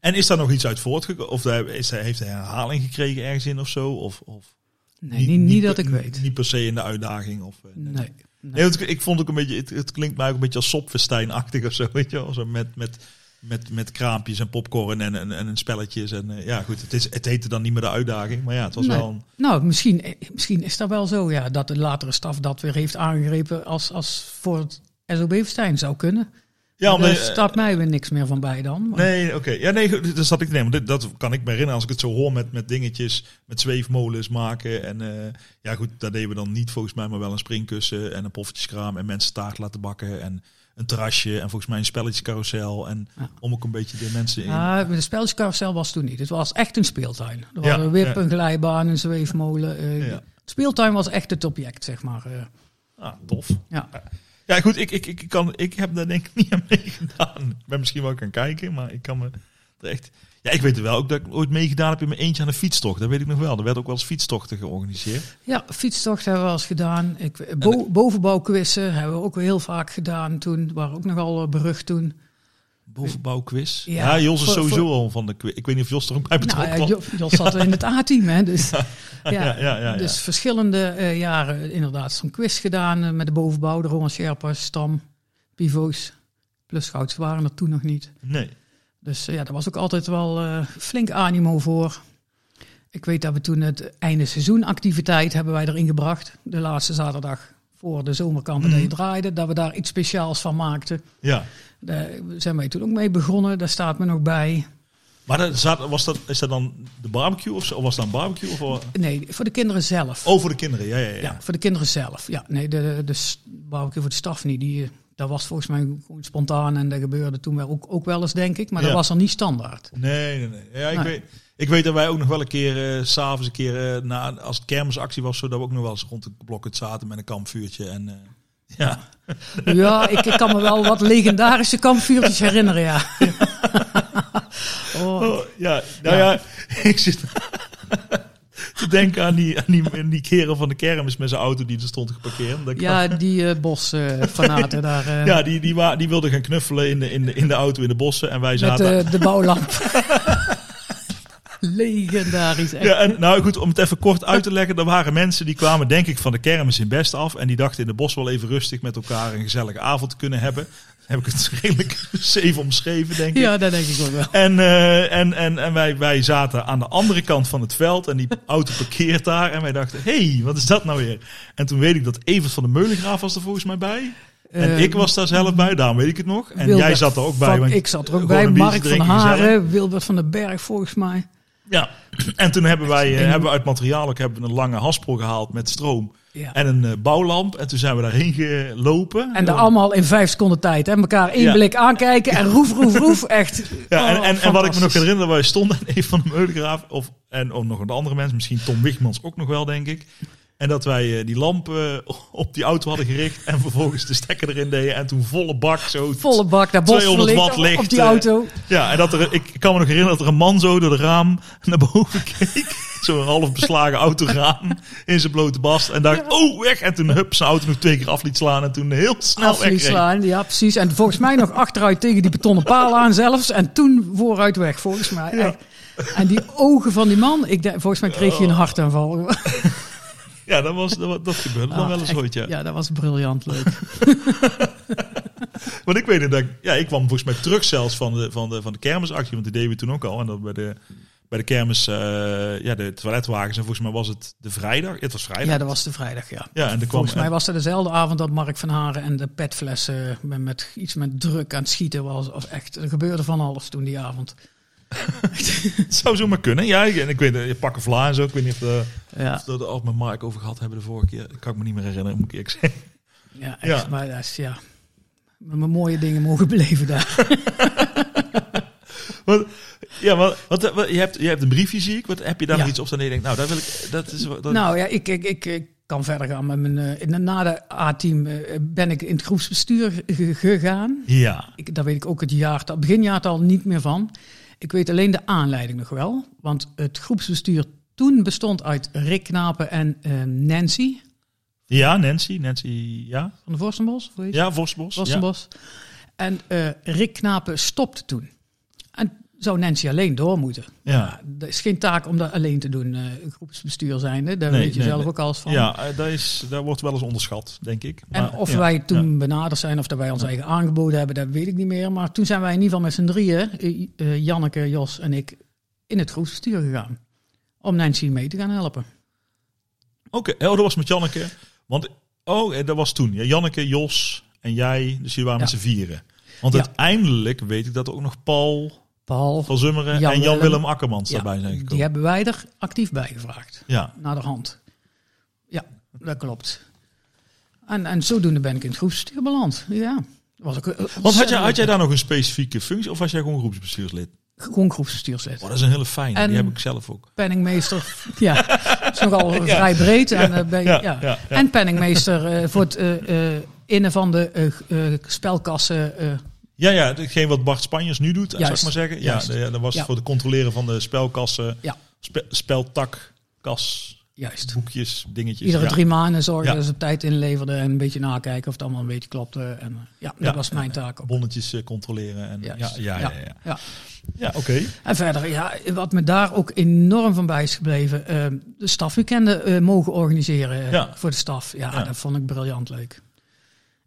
Speaker 2: En is daar nog iets uit voortgekomen? Of daar- is, daar- heeft hij een herhaling gekregen ergens in of zo? Of, of
Speaker 3: Nee, niet, niet, dat
Speaker 2: per-
Speaker 3: ik weet.
Speaker 2: Niet per se in de uitdaging. Of, eh,
Speaker 3: Nee.
Speaker 2: Nee, want ik, ik vond ook een beetje, het, het klinkt mij ook een beetje als sopfestijnachtig of zo, <laughs> weet je wel. Zo met, met, met, met kraampjes en popcorn en, en, en spelletjes. En eh, ja, goed, het, is, het heette dan niet meer de uitdaging, maar ja, het was
Speaker 3: Nee.
Speaker 2: wel een...
Speaker 3: Nou, misschien, eh, misschien is dat wel zo, ja. Dat de latere staf dat weer heeft aangegrepen als, als voor het SOB-festijn zou kunnen.
Speaker 2: Ja,
Speaker 3: Maar
Speaker 2: omdat
Speaker 3: Daar
Speaker 2: je-
Speaker 3: staat mij weer niks meer van bij dan. Maar-
Speaker 2: Nee, oké. Ja, nee, goed, dat zat ik te nemen. Dat, dat kan ik me herinneren als ik het zo hoor met, met dingetjes, met zweefmolens maken. En eh, ja, goed, dat deden we dan niet volgens mij, maar wel een springkussen en een poffertjeskraam en mensen taart laten bakken en een terrasje en volgens mij een spelletjescarousel. En
Speaker 3: Ja.
Speaker 2: om ook een beetje de mensen in.
Speaker 3: Ja, de spelletjescarousel was toen niet. Het was echt een speeltuin. Er
Speaker 2: Ja,
Speaker 3: waren een wip,
Speaker 2: ja.
Speaker 3: een glijbaan, een zweefmolen. eh,
Speaker 2: Ja.
Speaker 3: De speeltuin was echt het object, zeg maar. eh.
Speaker 2: Ah, tof.
Speaker 3: ja.
Speaker 2: Ja, goed, ik, ik, ik, kan, ik heb daar denk ik niet aan <laughs> meegedaan. Ik ben misschien wel gaan kijken, maar ik kan me er echt... Ja, ik weet wel ook dat ik ooit meegedaan heb in mijn eentje aan een fietstocht. Dat weet ik nog wel. Er werden ook wel eens fietstochten georganiseerd.
Speaker 3: ja, fietstocht hebben we al eens gedaan. Ik, bo- bovenbouwquizzen hebben we ook heel vaak gedaan toen. Waren ook nogal eh, berucht toen.
Speaker 2: Bovenbouwquiz. Ja,
Speaker 3: Ja,
Speaker 2: Jos is
Speaker 3: voor-
Speaker 2: sowieso
Speaker 3: voor-
Speaker 2: al van de quiz. Ik weet niet of Jos er ook bij
Speaker 3: Nou,
Speaker 2: betrokken
Speaker 3: ja,
Speaker 2: was.
Speaker 3: Jo- Jos zat in
Speaker 2: <laughs>
Speaker 3: het A-team, hè. Dus, ja.
Speaker 2: ja, ja, ja.
Speaker 3: dus verschillende eh, jaren inderdaad zo'n quiz gedaan eh, met de bovenbouw, de Roman Sherpas, Stam, Pivo's. Plus Gouds waren er toen nog niet.
Speaker 2: Nee.
Speaker 3: Dus eh, ja, daar was ook altijd wel eh, flink animo voor. Ik weet dat we toen het einde seizoenactiviteit hebben wij erin gebracht. De laatste zaterdag voor de zomerkampen
Speaker 2: Mhm.
Speaker 3: die draaiden. Dat we daar iets speciaals van maakten.
Speaker 2: Ja.
Speaker 3: Daar zijn wij toen ook mee begonnen. Daar staat me nog bij.
Speaker 2: Maar dat zat, was dat, is dat dan de barbecue of, zo? Of was dat een barbecue? Of, wel-
Speaker 3: Nee, voor de kinderen zelf.
Speaker 2: oh, voor de kinderen. Ja, ja, ja.
Speaker 3: ja. voor de kinderen zelf. Ja, nee, de, de s- barbecue voor de staf niet. Die, eh, dat was volgens mij gewoon spontaan. En dat gebeurde toen wel ook, ook wel eens, denk ik. Maar
Speaker 2: Ja.
Speaker 3: dat was dan niet standaard.
Speaker 2: Nee, nee, nee. Ja, ik,
Speaker 3: Nee.
Speaker 2: Weet, ik weet dat wij ook nog wel een keer eh, s s'avonds een keer eh, na, als het kermisactie was, zodat we ook nog wel eens rond het blokket zaten met een kampvuurtje. En, eh, ja.
Speaker 3: Ja, ik, ik kan me wel wat legendarische kampvuurtjes herinneren, ja. oh,
Speaker 2: <laughs> Oh, ja, nou ja, <laughs> ik zit te denken aan die, aan, die, aan die keren van de kermis met zijn auto die er stond geparkeerd. Dat ik
Speaker 3: ja, die eh
Speaker 2: <laughs>
Speaker 3: bosfanaten daar. eh,
Speaker 2: Ja, die, die, wa- die wilde gaan knuffelen in de, in, de, in de auto in de bossen. En wij
Speaker 3: met eh,
Speaker 2: zaten.
Speaker 3: de, de bouwlamp. <laughs> Legendarisch, echt.
Speaker 2: Ja, en, nou goed, om het even kort uit te leggen. Er waren mensen die kwamen, denk ik, van de kermis in Best af. En die dachten in de bos wel even rustig met elkaar een gezellige avond te kunnen hebben. Dan heb ik het redelijk <laughs> zeven omschreven, denk ik.
Speaker 3: Ja, dat denk ik ook wel.
Speaker 2: En, eh, en, en, en wij, wij zaten aan de andere kant van het veld en die auto parkeert daar. En wij dachten, hé, hey, wat is dat nou weer? En toen weet ik dat Evert van de Meulengraaf was er volgens mij bij. En
Speaker 3: Eh,
Speaker 2: ik was daar zelf bij, daarom weet ik het nog. En
Speaker 3: Wilbert
Speaker 2: jij zat er ook bij.
Speaker 3: van-
Speaker 2: want
Speaker 3: ik zat er ook
Speaker 2: gewoon
Speaker 3: bij.
Speaker 2: een biertje
Speaker 3: Mark van
Speaker 2: drinken, gezellig.
Speaker 3: Haren, Wilbert van den Berg volgens mij.
Speaker 2: Ja, <clears throat> en toen hebben wij eh,
Speaker 3: Enorm.
Speaker 2: hebben we uit materiaal ook hebben we een lange haspel gehaald met stroom
Speaker 3: Ja. En,
Speaker 2: en een eh, bouwlamp. En toen zijn we daarheen gelopen.
Speaker 3: daar
Speaker 2: Ja.
Speaker 3: allemaal in vijf seconden tijd. Hè? Elkaar één
Speaker 2: Ja.
Speaker 3: blik aankijken en roef, roef, roef. Echt.
Speaker 2: Ja, en,
Speaker 3: Oh,
Speaker 2: en, en wat ik me nog
Speaker 3: fantastisch.
Speaker 2: herinner, wij stonden aan een van de Meulengraaf, of, en ook nog een andere mens, misschien Tom Wichmans ook nog wel, denk ik. En dat wij eh, die lamp eh, <laughs> op die auto hadden gericht en vervolgens de stekker erin deden. En toen volle bak zo.
Speaker 3: Volle bak, daar bos
Speaker 2: 200
Speaker 3: verlicht
Speaker 2: watt licht,
Speaker 3: op die
Speaker 2: eh,
Speaker 3: auto.
Speaker 2: Ja, en dat er, ik kan me nog herinneren dat er een man zo door de raam naar boven keek. <laughs> Zo'n half beslagen autoraam in zijn blote bast. En dacht, oh, weg. En toen hup, zijn auto nog twee keer af liet slaan. En toen heel snel
Speaker 3: Afvlies
Speaker 2: wegreed.
Speaker 3: slaan, ja precies. En volgens mij nog achteruit tegen die betonnen paal aan zelfs. En toen vooruit weg, volgens mij. Echt. En die ogen van die man, ik denk, volgens mij kreeg je
Speaker 2: Oh.
Speaker 3: een hartaanval.
Speaker 2: Ja, dat, was, dat, dat gebeurde dan wel eens
Speaker 3: Ah, Echt,
Speaker 2: ooit, ja.
Speaker 3: <laughs> Ja, dat was briljant leuk.
Speaker 2: Want ik weet het, dat ik- ja, ik kwam volgens mij terug zelfs van de, van de, van de kermisactie, want die deden we toen ook al. En dat bij de, bij de kermis, eh, ja, de toiletwagens. En volgens mij was het de vrijdag. Het was vrijdag.
Speaker 3: Ja, dat was de vrijdag, ja.
Speaker 2: Ja, en er kwam,
Speaker 3: Volgens mij was dat dezelfde avond dat Mark van Haren en de petflessen met, met iets met druk aan het schieten was. Of echt, er gebeurde van alles toen die avond.
Speaker 2: <laughs> het zou zomaar kunnen. Ja, en ik weet het, je pakken vla en zo. Ik weet niet of, de,
Speaker 3: Ja,
Speaker 2: of we er al met Mark over gehad hebben de vorige keer. Dat kan ik me niet meer herinneren, moet ik eerlijk zeggen. <laughs>
Speaker 3: ja echt.
Speaker 2: Ja.
Speaker 3: Maar dat is, ja, met mijn mooie dingen mogen <laughs> beleven daar.
Speaker 2: Wat, ja, wat, wat, wat- je, hebt, je hebt een briefje, zie ik. Wat, heb je daar
Speaker 3: Ja.
Speaker 2: nog iets op staan? Nee, je denkt, nou, daar wil ik... Dat is, wat- dat,
Speaker 3: Nou ja, ik, ik, ik, ik kan verder gaan met mijn... eh, in de- na de A-team eh, ben ik in het groepsbestuur ge- ge- gegaan.
Speaker 2: Ja.
Speaker 3: Ik, daar weet ik ook het jaartal, beginjaartal niet meer van. Ik weet alleen de aanleiding nog wel. Want het groepsbestuur toen bestond uit Rick Knapen en eh, Nancy
Speaker 2: Ja, Nancy. Nancy, ja.
Speaker 3: van de Vorstenbos. Hoe heet
Speaker 2: Ja, Vosbos. ja.
Speaker 3: Rossenbos. En eh, Rick Knapen stopte toen. En zou Nancy alleen door moeten.
Speaker 2: Ja.
Speaker 3: Dat is geen taak om dat alleen te doen, eh, groepsbestuur zijnde. Daar
Speaker 2: Nee,
Speaker 3: weet je
Speaker 2: nee,
Speaker 3: zelf
Speaker 2: nee.
Speaker 3: ook alles van.
Speaker 2: Ja, eh, daar, is, daar wordt wel eens onderschat, denk ik.
Speaker 3: En
Speaker 2: Maar,
Speaker 3: of
Speaker 2: ja,
Speaker 3: wij toen benaderd zijn of dat wij ons eigen aangeboden hebben, dat weet ik niet meer. Maar toen zijn wij in ieder geval met z'n drieën, eh, eh, Janneke, Jos en ik, in het groepsbestuur gegaan. Om Nancy mee te gaan helpen.
Speaker 2: ja. Oké, oh, dat was met eh, Janneke. Want, oh, eh, dat was toen. Ja, Janneke, Jos en jij, dus jullie waren
Speaker 3: Ja.
Speaker 2: met z'n vieren. Want
Speaker 3: Ja.
Speaker 2: uiteindelijk weet ik dat er ook nog Paul
Speaker 3: Paul,
Speaker 2: van Zummeren en
Speaker 3: Jan-Willem.
Speaker 2: Jan-Willem Akkermans
Speaker 3: Ja,
Speaker 2: daarbij zijn gekomen.
Speaker 3: die hebben wij er actief bij gevraagd.
Speaker 2: Ja,
Speaker 3: Naar de hand. Ja, dat klopt. En, en zodoende ben ik in het groepsbestuur beland. Ja. Was ook, eh,
Speaker 2: Want had jij,
Speaker 3: ontzettend
Speaker 2: had jij daar nog een specifieke functie of was jij gewoon groepsbestuurslid?
Speaker 3: Gewoon groepsbestuurslid.
Speaker 2: Oh, dat is een hele fijne,
Speaker 3: En-
Speaker 2: die heb ik zelf ook.
Speaker 3: Penningmeester,
Speaker 2: <laughs>
Speaker 3: ja, is nogal vrij breed. En, eh, bij,
Speaker 2: ja,
Speaker 3: ja,
Speaker 2: ja, ja.
Speaker 3: en penningmeester eh, voor het eh, eh, innen van de eh, eh, spelkassen. eh,
Speaker 2: Ja, ja, hetgeen wat Bart Spanjers nu doet, eh, zou ik
Speaker 3: Juist,
Speaker 2: maar zeggen. Ja,
Speaker 3: juist.
Speaker 2: de- ja, dat was
Speaker 3: Ja.
Speaker 2: voor het controleren van de spelkassen,
Speaker 3: Ja.
Speaker 2: spe- speltak, kas,
Speaker 3: juist.
Speaker 2: boekjes, dingetjes.
Speaker 3: Iedere
Speaker 2: ja.
Speaker 3: drie maanden zorgen
Speaker 2: Ja.
Speaker 3: dat ze op tijd inleverden en een beetje nakijken of het allemaal een beetje klopte. En, eh, ja, dat
Speaker 2: Ja,
Speaker 3: was mijn taak ook.
Speaker 2: Bonnetjes eh, controleren. En, ja, ja,
Speaker 3: Juist.
Speaker 2: ja, ja. ja.
Speaker 3: ja.
Speaker 2: Ja, oké.
Speaker 3: En verder, ja, wat me daar ook enorm van bij is gebleven, eh, de stafweekenden eh, mogen organiseren eh,
Speaker 2: Ja.
Speaker 3: voor de staf. Ja,
Speaker 2: Ja.
Speaker 3: dat vond ik briljant leuk.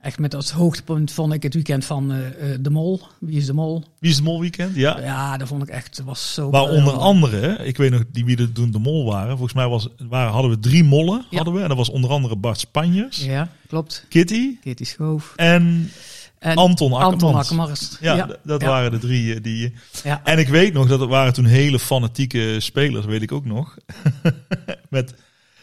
Speaker 3: Echt met als hoogtepunt vond ik het weekend van eh, eh, De Mol. Wie is De Mol?
Speaker 2: Wie is de Mol Weekend? Ja.
Speaker 3: Ja, dat vond ik echt, dat was zo...
Speaker 2: Waar onder
Speaker 3: briljant.
Speaker 2: andere, ik weet nog die wie er toen de mol waren. Volgens mij was, waren, hadden we drie mollen.
Speaker 3: Ja.
Speaker 2: Hadden we, en dat was onder andere Bart Spanjers,
Speaker 3: Ja, klopt.
Speaker 2: Kitty
Speaker 3: Kitty Schoof.
Speaker 2: en
Speaker 3: En
Speaker 2: Anton Akkermans.
Speaker 3: Anton Akkermans.
Speaker 2: Ja, d- dat
Speaker 3: ja.
Speaker 2: waren de drie eh, die...
Speaker 3: Ja.
Speaker 2: En ik weet nog dat het waren toen hele fanatieke spelers, weet ik ook nog. <laughs> met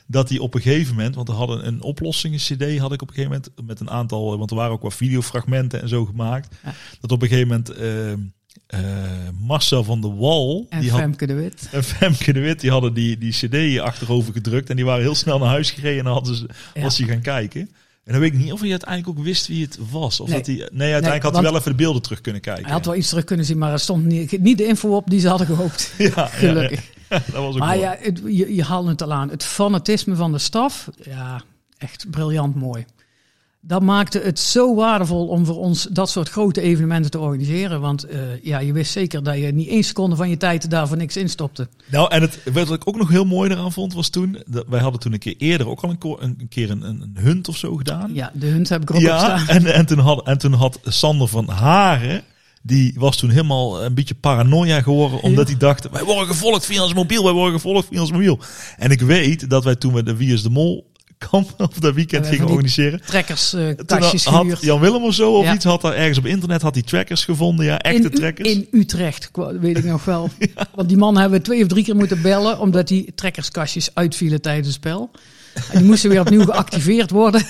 Speaker 2: dat die op een gegeven moment, want we hadden een oplossingen CD had ik op een gegeven moment met een aantal, eh, want er waren ook wat videofragmenten en zo gemaakt.
Speaker 3: Ja.
Speaker 2: Dat op een gegeven moment eh, eh, Marcel van de Wal
Speaker 3: En
Speaker 2: die had,
Speaker 3: Femke de Wit.
Speaker 2: en Femke de Wit die hadden die, die CD achterover gedrukt en die waren heel snel naar huis gereden en dan hadden ze,
Speaker 3: Ja.
Speaker 2: was hij gaan kijken. En dan weet ik niet of hij uiteindelijk ook wist wie het was. Of
Speaker 3: Nee.
Speaker 2: dat hij, nee, uiteindelijk
Speaker 3: Nee,
Speaker 2: had hij
Speaker 3: want-
Speaker 2: wel even de beelden terug kunnen kijken.
Speaker 3: Hij had wel iets terug kunnen zien, maar er stond niet, niet de info op die ze hadden gehoopt.
Speaker 2: <laughs> Ja,
Speaker 3: <laughs>
Speaker 2: ja,
Speaker 3: Gelukkig.
Speaker 2: ja. dat was ook
Speaker 3: Maar
Speaker 2: mooi.
Speaker 3: ja, het- je, je haalt het al aan. Het fanatisme van de staf, ja, echt briljant mooi. Dat maakte het zo waardevol om voor ons dat soort grote evenementen te organiseren. Want eh, ja, je wist zeker dat je niet één seconde van je tijd daar voor niks instopte.
Speaker 2: Nou, en het, wat ik ook nog heel mooi eraan vond was toen... Dat, wij hadden toen een keer eerder ook al een, ko- een, een keer een, een, een hunt of zo gedaan.
Speaker 3: Ja, de hunt heb ik erop op
Speaker 2: Ja,
Speaker 3: staan.
Speaker 2: en, en, toen had, en toen had Sander van Haren... Die was toen helemaal een beetje paranoia geworden. Omdat
Speaker 3: Ja.
Speaker 2: hij dacht, wij worden gevolgd via ons mobiel. Wij worden gevolgd via ons mobiel. En ik weet dat wij toen met de Wie is de Mol kamp... <laughs> Of dat
Speaker 3: Ja,
Speaker 2: weekend
Speaker 3: wij
Speaker 2: gingen
Speaker 3: van die
Speaker 2: organiseren.
Speaker 3: Trekkers, eh,
Speaker 2: Toen
Speaker 3: kastjes
Speaker 2: had
Speaker 3: gehuurd.
Speaker 2: Jan Willem of zo of
Speaker 3: Ja.
Speaker 2: iets... Had daar ergens op internet had die trackers gevonden. Ja, echte
Speaker 3: in, U-
Speaker 2: trackers.
Speaker 3: in Utrecht, kwa- weet ik nog wel. Want die man hebben we twee of drie keer moeten bellen, omdat die trekkerskastjes uitvielen tijdens het spel. En die moesten weer opnieuw geactiveerd worden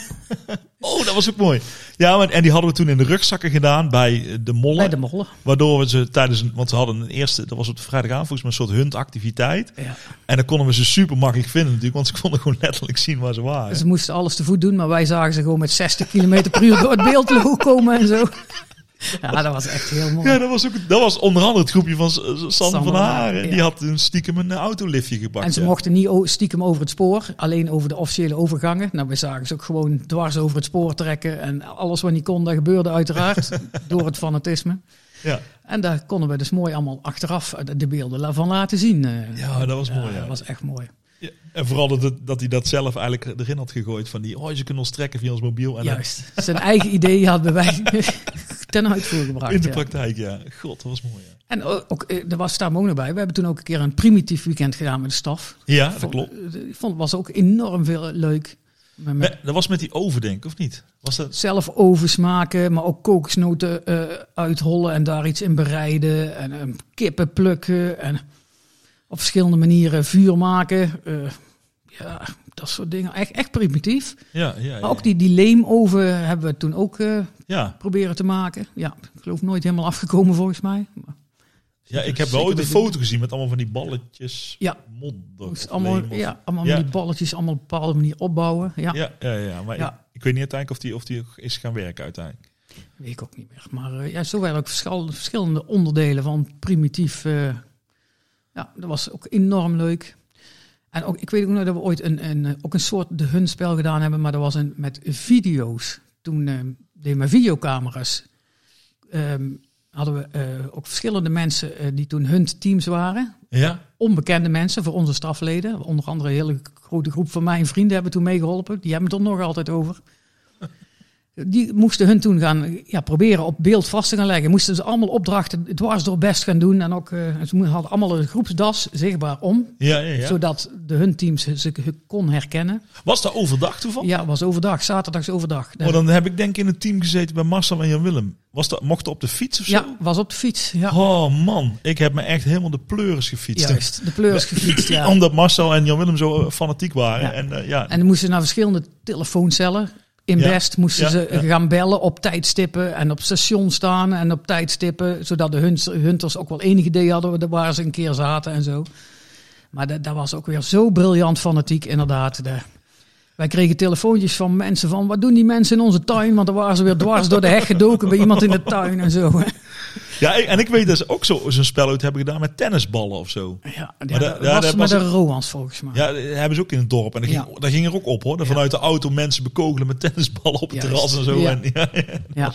Speaker 2: Oh, dat was ook mooi. Ja, maar, en die hadden we toen in de rugzakken gedaan bij eh, de mollen.
Speaker 3: bij de mollen.
Speaker 2: Waardoor we ze tijdens een, want ze hadden een eerste, dat was op de vrijdagavond volgens mij een soort huntactiviteit.
Speaker 3: Ja.
Speaker 2: En dan konden we ze super makkelijk vinden natuurlijk, want ze konden gewoon letterlijk zien waar ze waren.
Speaker 3: Dus Ze moesten alles te voet doen, maar wij zagen ze gewoon met 60 km per uur door het beeld <laughs> logo komen en zo. Ja, dat was echt heel mooi.
Speaker 2: Ja, dat was, ook, dat was onder andere het groepje van S- S- Sander,
Speaker 3: Sander
Speaker 2: van
Speaker 3: van
Speaker 2: Haren.
Speaker 3: Haren,
Speaker 2: Die
Speaker 3: ja.
Speaker 2: had een stiekem een eh, autoliftje gepakt.
Speaker 3: En ze
Speaker 2: ja.
Speaker 3: mochten niet o- stiekem over het spoor, alleen over de officiële overgangen. Nou, we zagen ze ook gewoon dwars over het spoor trekken. En alles wat niet kon, dat gebeurde uiteraard door het fanatisme.
Speaker 2: Ja.
Speaker 3: En daar konden we dus mooi allemaal achteraf de beelden la- van laten zien. eh.
Speaker 2: ja, dat was mooi.
Speaker 3: Ja,
Speaker 2: Ja.
Speaker 3: dat was echt mooi.
Speaker 2: Ja. En vooral dat, het- dat hij dat zelf eigenlijk erin had gegooid. Van die, oh, ze kunnen ons trekken via ons mobiel. En dan-
Speaker 3: Juist. Zijn eigen idee hadden wij <laughs> ten uitvoer
Speaker 2: in
Speaker 3: gebracht.
Speaker 2: de
Speaker 3: ja.
Speaker 2: praktijk, ja. God, dat was mooi. Ja,
Speaker 3: En o- ook, eh, er was daar ook nog bij. We hebben toen ook een keer een primitief weekend gedaan met de staf.
Speaker 2: ja dat
Speaker 3: Vond-
Speaker 2: klopt.
Speaker 3: eh, Ik vond het was ook enorm veel leuk. Met, met
Speaker 2: Me- Dat was met die overdenk, of niet? Was dat...
Speaker 3: zelf ovens maken, maar ook kokosnoten eh, uithollen en daar iets in bereiden. En eh, kippen plukken en op verschillende manieren vuur maken. Eh, ja, dat soort dingen. Echt, echt primitief.
Speaker 2: Ja, ja, ja.
Speaker 3: Maar ook die, die leemoven hebben we toen ook eh,
Speaker 2: ja.
Speaker 3: proberen te maken. Ja, ik geloof nooit helemaal afgekomen volgens mij. Maar
Speaker 2: ja, ik heb
Speaker 3: Zeker
Speaker 2: wel ooit een
Speaker 3: weten.
Speaker 2: foto gezien met allemaal van die balletjes.
Speaker 3: Ja.
Speaker 2: Modder.
Speaker 3: moest
Speaker 2: of leem
Speaker 3: allemaal,
Speaker 2: of-
Speaker 3: ja, allemaal
Speaker 2: Ja.
Speaker 3: die balletjes allemaal op een bepaalde manier opbouwen. Ja,
Speaker 2: Ja, ja, ja, maar
Speaker 3: Ja.
Speaker 2: Ik, ik weet niet uiteindelijk of die, of die ook is gaan werken uiteindelijk.
Speaker 3: weet ik ook niet meer. Maar eh, ja, zo waren ook verschal- verschillende onderdelen van primitief. eh, ja, dat was ook enorm leuk. En ook, ik weet ook nog dat we ooit een, een, eh, ook een soort de hun spel gedaan hebben, maar dat was een met video's. Toen eh deden we videocamera's. Ehm, hadden we eh, ook verschillende mensen eh, die toen hun teams waren.
Speaker 2: Ja?
Speaker 3: onbekende mensen voor onze stafleden. Onder andere een hele grote groep van mijn vrienden hebben toen meegeholpen. Die hebben het er nog altijd over. Die moesten hun toen gaan ja, proberen op beeld vast te gaan leggen. Moesten ze allemaal opdrachten dwars door best gaan doen. En ook, eh, ze mo- hadden allemaal een groepsdas zichtbaar om.
Speaker 2: Ja, ja, ja.
Speaker 3: Zodat de hun teams ze- ze kon herkennen.
Speaker 2: Was dat overdag toeval?
Speaker 3: Ja, was overdag, zaterdags overdag.
Speaker 2: Oh, dan heb ik denk ik in een team gezeten bij Marcel en Jan Willem. Was dat, mocht dat op de fiets of zo?
Speaker 3: ja, was op de fiets. Ja,
Speaker 2: Oh man, ik heb me echt helemaal de pleuris gefietst.
Speaker 3: juist. De pleurs
Speaker 2: <laughs>
Speaker 3: gefietst, ja.
Speaker 2: Omdat Marcel en Jan Willem zo eh, fanatiek waren.
Speaker 3: Ja.
Speaker 2: En, eh, ja.
Speaker 3: En dan moesten ze naar verschillende telefooncellen. In
Speaker 2: Ja,
Speaker 3: Best moesten
Speaker 2: ja,
Speaker 3: ze
Speaker 2: ja.
Speaker 3: gaan bellen op tijdstippen en op station staan en op tijdstippen. Zodat de hunts- hunters ook wel enig idee hadden waar ze een keer zaten en zo. Maar da- daar was ook weer zo briljant fanatiek inderdaad. De- wij kregen telefoontjes van mensen van, wat doen die mensen in onze tuin? Want dan waren ze weer dwars door de heg gedoken bij iemand in de tuin en zo. <laughs>
Speaker 2: ja, ik- en ik weet dat ze ook zo- zo'n spel uit hebben gedaan met tennisballen of zo.
Speaker 3: Ja, ja,
Speaker 2: daar-
Speaker 3: dat
Speaker 2: daar
Speaker 3: was
Speaker 2: was
Speaker 3: met
Speaker 2: ik-
Speaker 3: de Roans volgens mij.
Speaker 2: Ja, dat hebben ze ook in het dorp. En dat ging,
Speaker 3: Ja.
Speaker 2: dat ging er ook op hoor. Dat
Speaker 3: Ja.
Speaker 2: Vanuit de auto mensen bekogelen met tennisballen op het
Speaker 3: Juist.
Speaker 2: terras en zo.
Speaker 3: Ja.
Speaker 2: En, <laughs> ja, ja.
Speaker 3: Ja.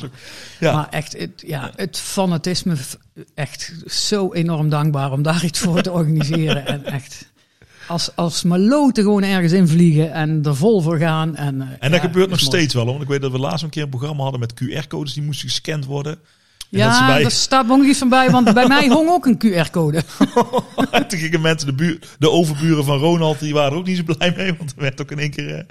Speaker 2: Ja.
Speaker 3: Maar echt, het, ja, het fanatisme, v- echt zo enorm dankbaar om daar iets voor te organiseren. En echt, als, als maloten gewoon ergens invliegen en er vol voor gaan. En, eh,
Speaker 2: En
Speaker 3: ja,
Speaker 2: dat
Speaker 3: is
Speaker 2: gebeurt nog
Speaker 3: mooi.
Speaker 2: steeds wel. hoor. Want ik weet dat we laatst een keer een programma hadden met QR-codes. Die moesten gescand worden. En dat ze
Speaker 3: Ja,
Speaker 2: bij
Speaker 3: daar staat wel nog iets van bij, want bij mij hong ook een QR-code.
Speaker 2: <laughs> toen gingen mensen, de, buur, de overburen van Ronald, die waren er ook niet zo blij mee. Want er werd ook in één keer... eh,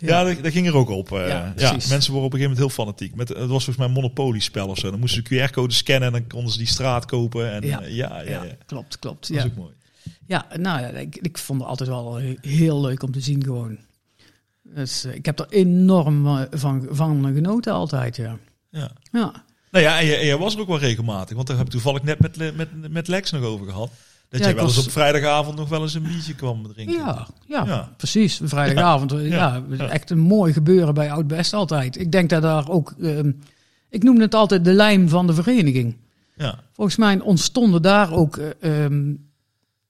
Speaker 2: ja, dat, dat ging er ook op. eh.
Speaker 3: Ja,
Speaker 2: ja,
Speaker 3: precies.
Speaker 2: mensen worden op een gegeven moment heel fanatiek. Met, het was volgens mij een monopoliespel of zo. Dan moesten ze QR-codes scannen en dan konden ze die straat kopen. En, eh,
Speaker 3: Ja.
Speaker 2: ja, ja, ja,
Speaker 3: Ja,
Speaker 2: Dat
Speaker 3: klopt, klopt.
Speaker 2: is
Speaker 3: Ja,
Speaker 2: ook mooi.
Speaker 3: ja nou ja, ik, ik vond het altijd wel he- heel leuk om te zien gewoon. Dus eh, ik heb er enorm eh, van, van genoten altijd, ja.
Speaker 2: Ja.
Speaker 3: Ja,
Speaker 2: Nou ja, en jij, en jij was er ook wel regelmatig. Want daar heb ik toevallig net met, Le- met, met Lex nog over gehad. Dat
Speaker 3: Ja,
Speaker 2: jij
Speaker 3: ik
Speaker 2: wel eens
Speaker 3: was-
Speaker 2: op vrijdagavond nog wel eens een biertje kwam drinken.
Speaker 3: ja, ja.
Speaker 2: Ja.
Speaker 3: Precies, een vrijdagavond. Ja,
Speaker 2: ja.
Speaker 3: echt een mooi gebeuren bij Oud-Best altijd. Ik denk dat daar ook, ehm, ik noemde het altijd de lijm van de vereniging.
Speaker 2: Ja.
Speaker 3: Volgens mij ontstonden daar ook eh, ehm,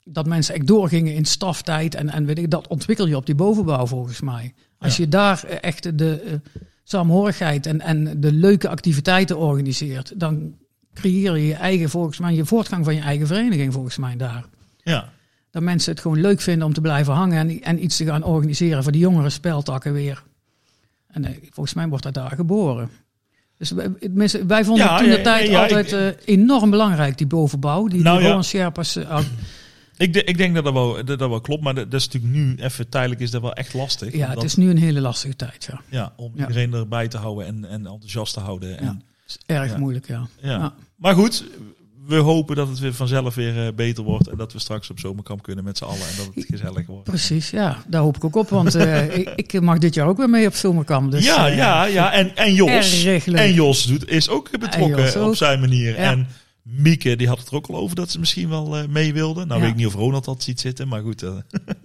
Speaker 3: dat mensen echt doorgingen in staftijd en, en weet ik, dat ontwikkel je op die bovenbouw volgens mij. Als
Speaker 2: Ja.
Speaker 3: je daar eh, echt de eh, saamhorigheid en, en de leuke activiteiten organiseert, dan creëer je je eigen, volgens mij, je voortgang van je eigen vereniging volgens mij daar.
Speaker 2: ja.
Speaker 3: Dat mensen het gewoon leuk vinden om te blijven hangen en, en iets te gaan organiseren voor die jongere speltakken weer. En eh, volgens mij wordt dat daar geboren. Dus wij, het mis- wij vonden
Speaker 2: Ja,
Speaker 3: toen de
Speaker 2: ja,
Speaker 3: tijd
Speaker 2: ja, ja,
Speaker 3: altijd
Speaker 2: ik-
Speaker 3: eh, enorm belangrijk, die bovenbouw. Die,
Speaker 2: Nou
Speaker 3: die
Speaker 2: ja.
Speaker 3: Roland Sherpas. eh, oud-
Speaker 2: Ik, de- ik denk dat dat wel, dat dat wel klopt. Maar dat, dat is natuurlijk nu, even tijdelijk, is dat wel echt lastig.
Speaker 3: ja, het
Speaker 2: Omdat-
Speaker 3: is nu een hele lastige tijd. Ja.
Speaker 2: Ja, om
Speaker 3: Ja.
Speaker 2: iedereen erbij te houden en, en enthousiast te houden.
Speaker 3: Ja.
Speaker 2: En,
Speaker 3: Het is erg
Speaker 2: Ja.
Speaker 3: moeilijk, ja.
Speaker 2: ja.
Speaker 3: Ja.
Speaker 2: Maar goed, we hopen dat het weer vanzelf weer eh, beter wordt. En dat we straks op zomerkamp kunnen met z'n allen. En dat
Speaker 3: <laughs>
Speaker 2: het gezellig wordt.
Speaker 3: Precies, ja. Daar hoop ik ook op, want
Speaker 2: <laughs>
Speaker 3: eh, ik, ik mag dit jaar ook weer mee op zomerkamp. Dus,
Speaker 2: ja,
Speaker 3: eh,
Speaker 2: ja, ja. En, en Jos.
Speaker 3: Erg leuk.
Speaker 2: En Jos doet, is ook betrokken
Speaker 3: En Jos ook.
Speaker 2: op zijn manier.
Speaker 3: Ja.
Speaker 2: En Mieke, die had het er ook al over dat ze misschien wel eh, mee wilde. Nou
Speaker 3: Ja.
Speaker 2: weet ik niet of Ronald dat ziet zitten, maar goed. eh. <laughs>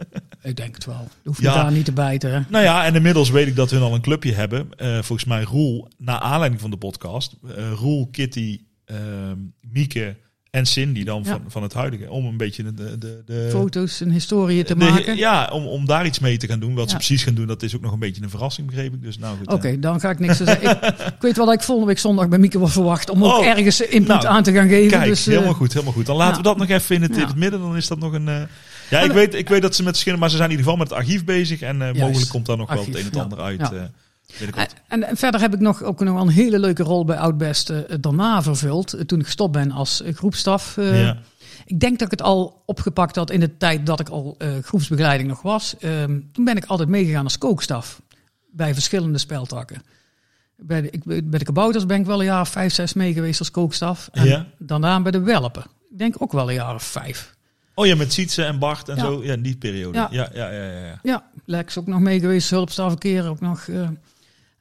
Speaker 3: Ik denk het wel. Je hoeft
Speaker 2: Ja.
Speaker 3: elkaar niet te bijten. hè.
Speaker 2: Nou ja, en inmiddels weet ik dat hun al een clubje hebben. Eh, volgens mij Roel, naar aanleiding van de podcast. eh, Roel, Kitty, ehm, Mieke en Cindy dan
Speaker 3: Ja.
Speaker 2: van, van het huidige. Om een beetje de... de, de
Speaker 3: Foto's en historieën te
Speaker 2: de-
Speaker 3: maken.
Speaker 2: ja, om, om daar iets mee te gaan doen. Wat
Speaker 3: Ja.
Speaker 2: ze precies gaan doen, dat is ook nog een beetje een verrassing, begreep ik. Dus nou goed.
Speaker 3: Oké, dan ga ik niks te zeggen. ik,
Speaker 2: <laughs>
Speaker 3: ik weet wel dat ik volgende week zondag bij Mieke wel verwacht om ook
Speaker 2: Oh,
Speaker 3: ergens input
Speaker 2: nou,
Speaker 3: aan te gaan
Speaker 2: eh,
Speaker 3: geven.
Speaker 2: Kijk,
Speaker 3: dus, eh,
Speaker 2: helemaal goed, helemaal goed. Dan laten
Speaker 3: ja.
Speaker 2: we dat nog even in het, in
Speaker 3: Ja.
Speaker 2: het midden. Dan is dat nog een... eh, ja, ik
Speaker 3: Maar-
Speaker 2: weet, ik weet dat ze met verschillen... Maar ze zijn in ieder geval met het archief bezig. En eh, mogelijk komt daar nog wel
Speaker 3: archief,
Speaker 2: het een en
Speaker 3: ja.
Speaker 2: ander uit.
Speaker 3: Ja.
Speaker 2: eh, binnenkort.
Speaker 3: En, en verder heb ik nog ook nog wel een hele leuke rol bij Oudbest eh, daarna vervuld. eh, toen ik gestopt ben als eh, groepsstaf. eh.
Speaker 2: ja.
Speaker 3: Ik denk dat ik het al opgepakt had in de tijd dat ik al eh, groepsbegeleiding nog was. Ehm, toen ben ik altijd meegegaan als kookstaf bij verschillende speltakken. Bij de, ik, bij de kabouters ben ik wel een jaar of vijf, zes mee geweest als kookstaf. En
Speaker 2: Ja.
Speaker 3: daarna bij de welpen. Ik denk ook wel een jaar of vijf.
Speaker 2: Oh ja, met Sietse en Bart en
Speaker 3: Ja.
Speaker 2: zo. Ja, in die periode.
Speaker 3: Ja.
Speaker 2: Ja, ja, ja. ja, ja.
Speaker 3: Ja, Lex ook nog mee geweest, hulpstafverkeer ook nog. eh.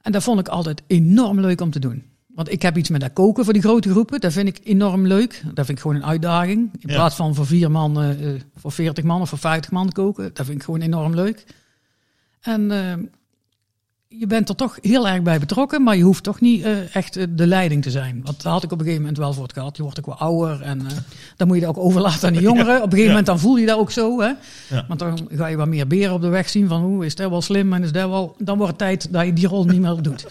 Speaker 3: en dat vond ik altijd enorm leuk om te doen. Want ik heb iets met dat koken voor die grote groepen. Dat vind ik enorm leuk. Dat vind ik gewoon een uitdaging. In
Speaker 2: Ja.
Speaker 3: plaats van voor vier man, eh, eh, voor veertig man of voor vijftig man koken. Dat vind ik gewoon enorm leuk. En eh, je bent er toch heel erg bij betrokken. Maar je hoeft toch niet eh, echt eh, de leiding te zijn. Want daar had ik op een gegeven moment wel voor het gehad. Je wordt ook wel ouder. En eh, dan moet je dat ook overlaten aan de jongeren. Op een gegeven
Speaker 2: <laughs> ja.
Speaker 3: moment dan voel je dat ook zo. Hè?
Speaker 2: Ja.
Speaker 3: Want dan ga je wat meer beren op de weg zien van hoe is dat wel slim en is dat wel. Dan wordt het tijd dat je die rol niet meer
Speaker 2: <laughs>
Speaker 3: doet.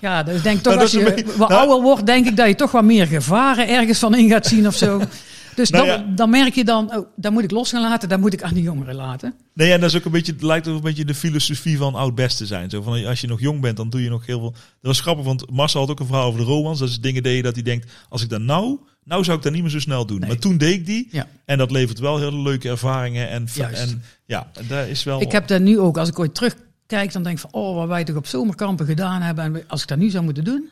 Speaker 3: Ja, dus ik denk toch
Speaker 2: Nou,
Speaker 3: als
Speaker 2: dat is een
Speaker 3: je
Speaker 2: beetje-
Speaker 3: wat
Speaker 2: nou- <laughs>
Speaker 3: ouder wordt, denk ik dat je toch wat meer gevaren ergens van in gaat zien of zo. Dus
Speaker 2: Nou
Speaker 3: dan,
Speaker 2: ja.
Speaker 3: dan merk je dan, oh, daar moet ik los gaan laten, daar moet ik aan de jongeren laten.
Speaker 2: Nee, en dat is ook een beetje, het lijkt ook een beetje de filosofie van oud best te zijn. Zo van, als je nog jong bent, dan doe je nog heel veel. Dat was grappig, want Marcel had ook een verhaal over de romans. Dat is dingen deed je dat hij denkt, als ik dat nou, nou zou ik dat niet meer zo snel doen.
Speaker 3: Nee.
Speaker 2: Maar toen deed ik die.
Speaker 3: Ja.
Speaker 2: En dat levert wel hele leuke ervaringen. En,
Speaker 3: Juist.
Speaker 2: en ja, daar is wel.
Speaker 3: Ik heb dat nu ook, als ik ooit terugkijk, dan denk ik van, oh, wat wij toch op zomerkampen gedaan hebben. En als ik dat nu zou moeten doen,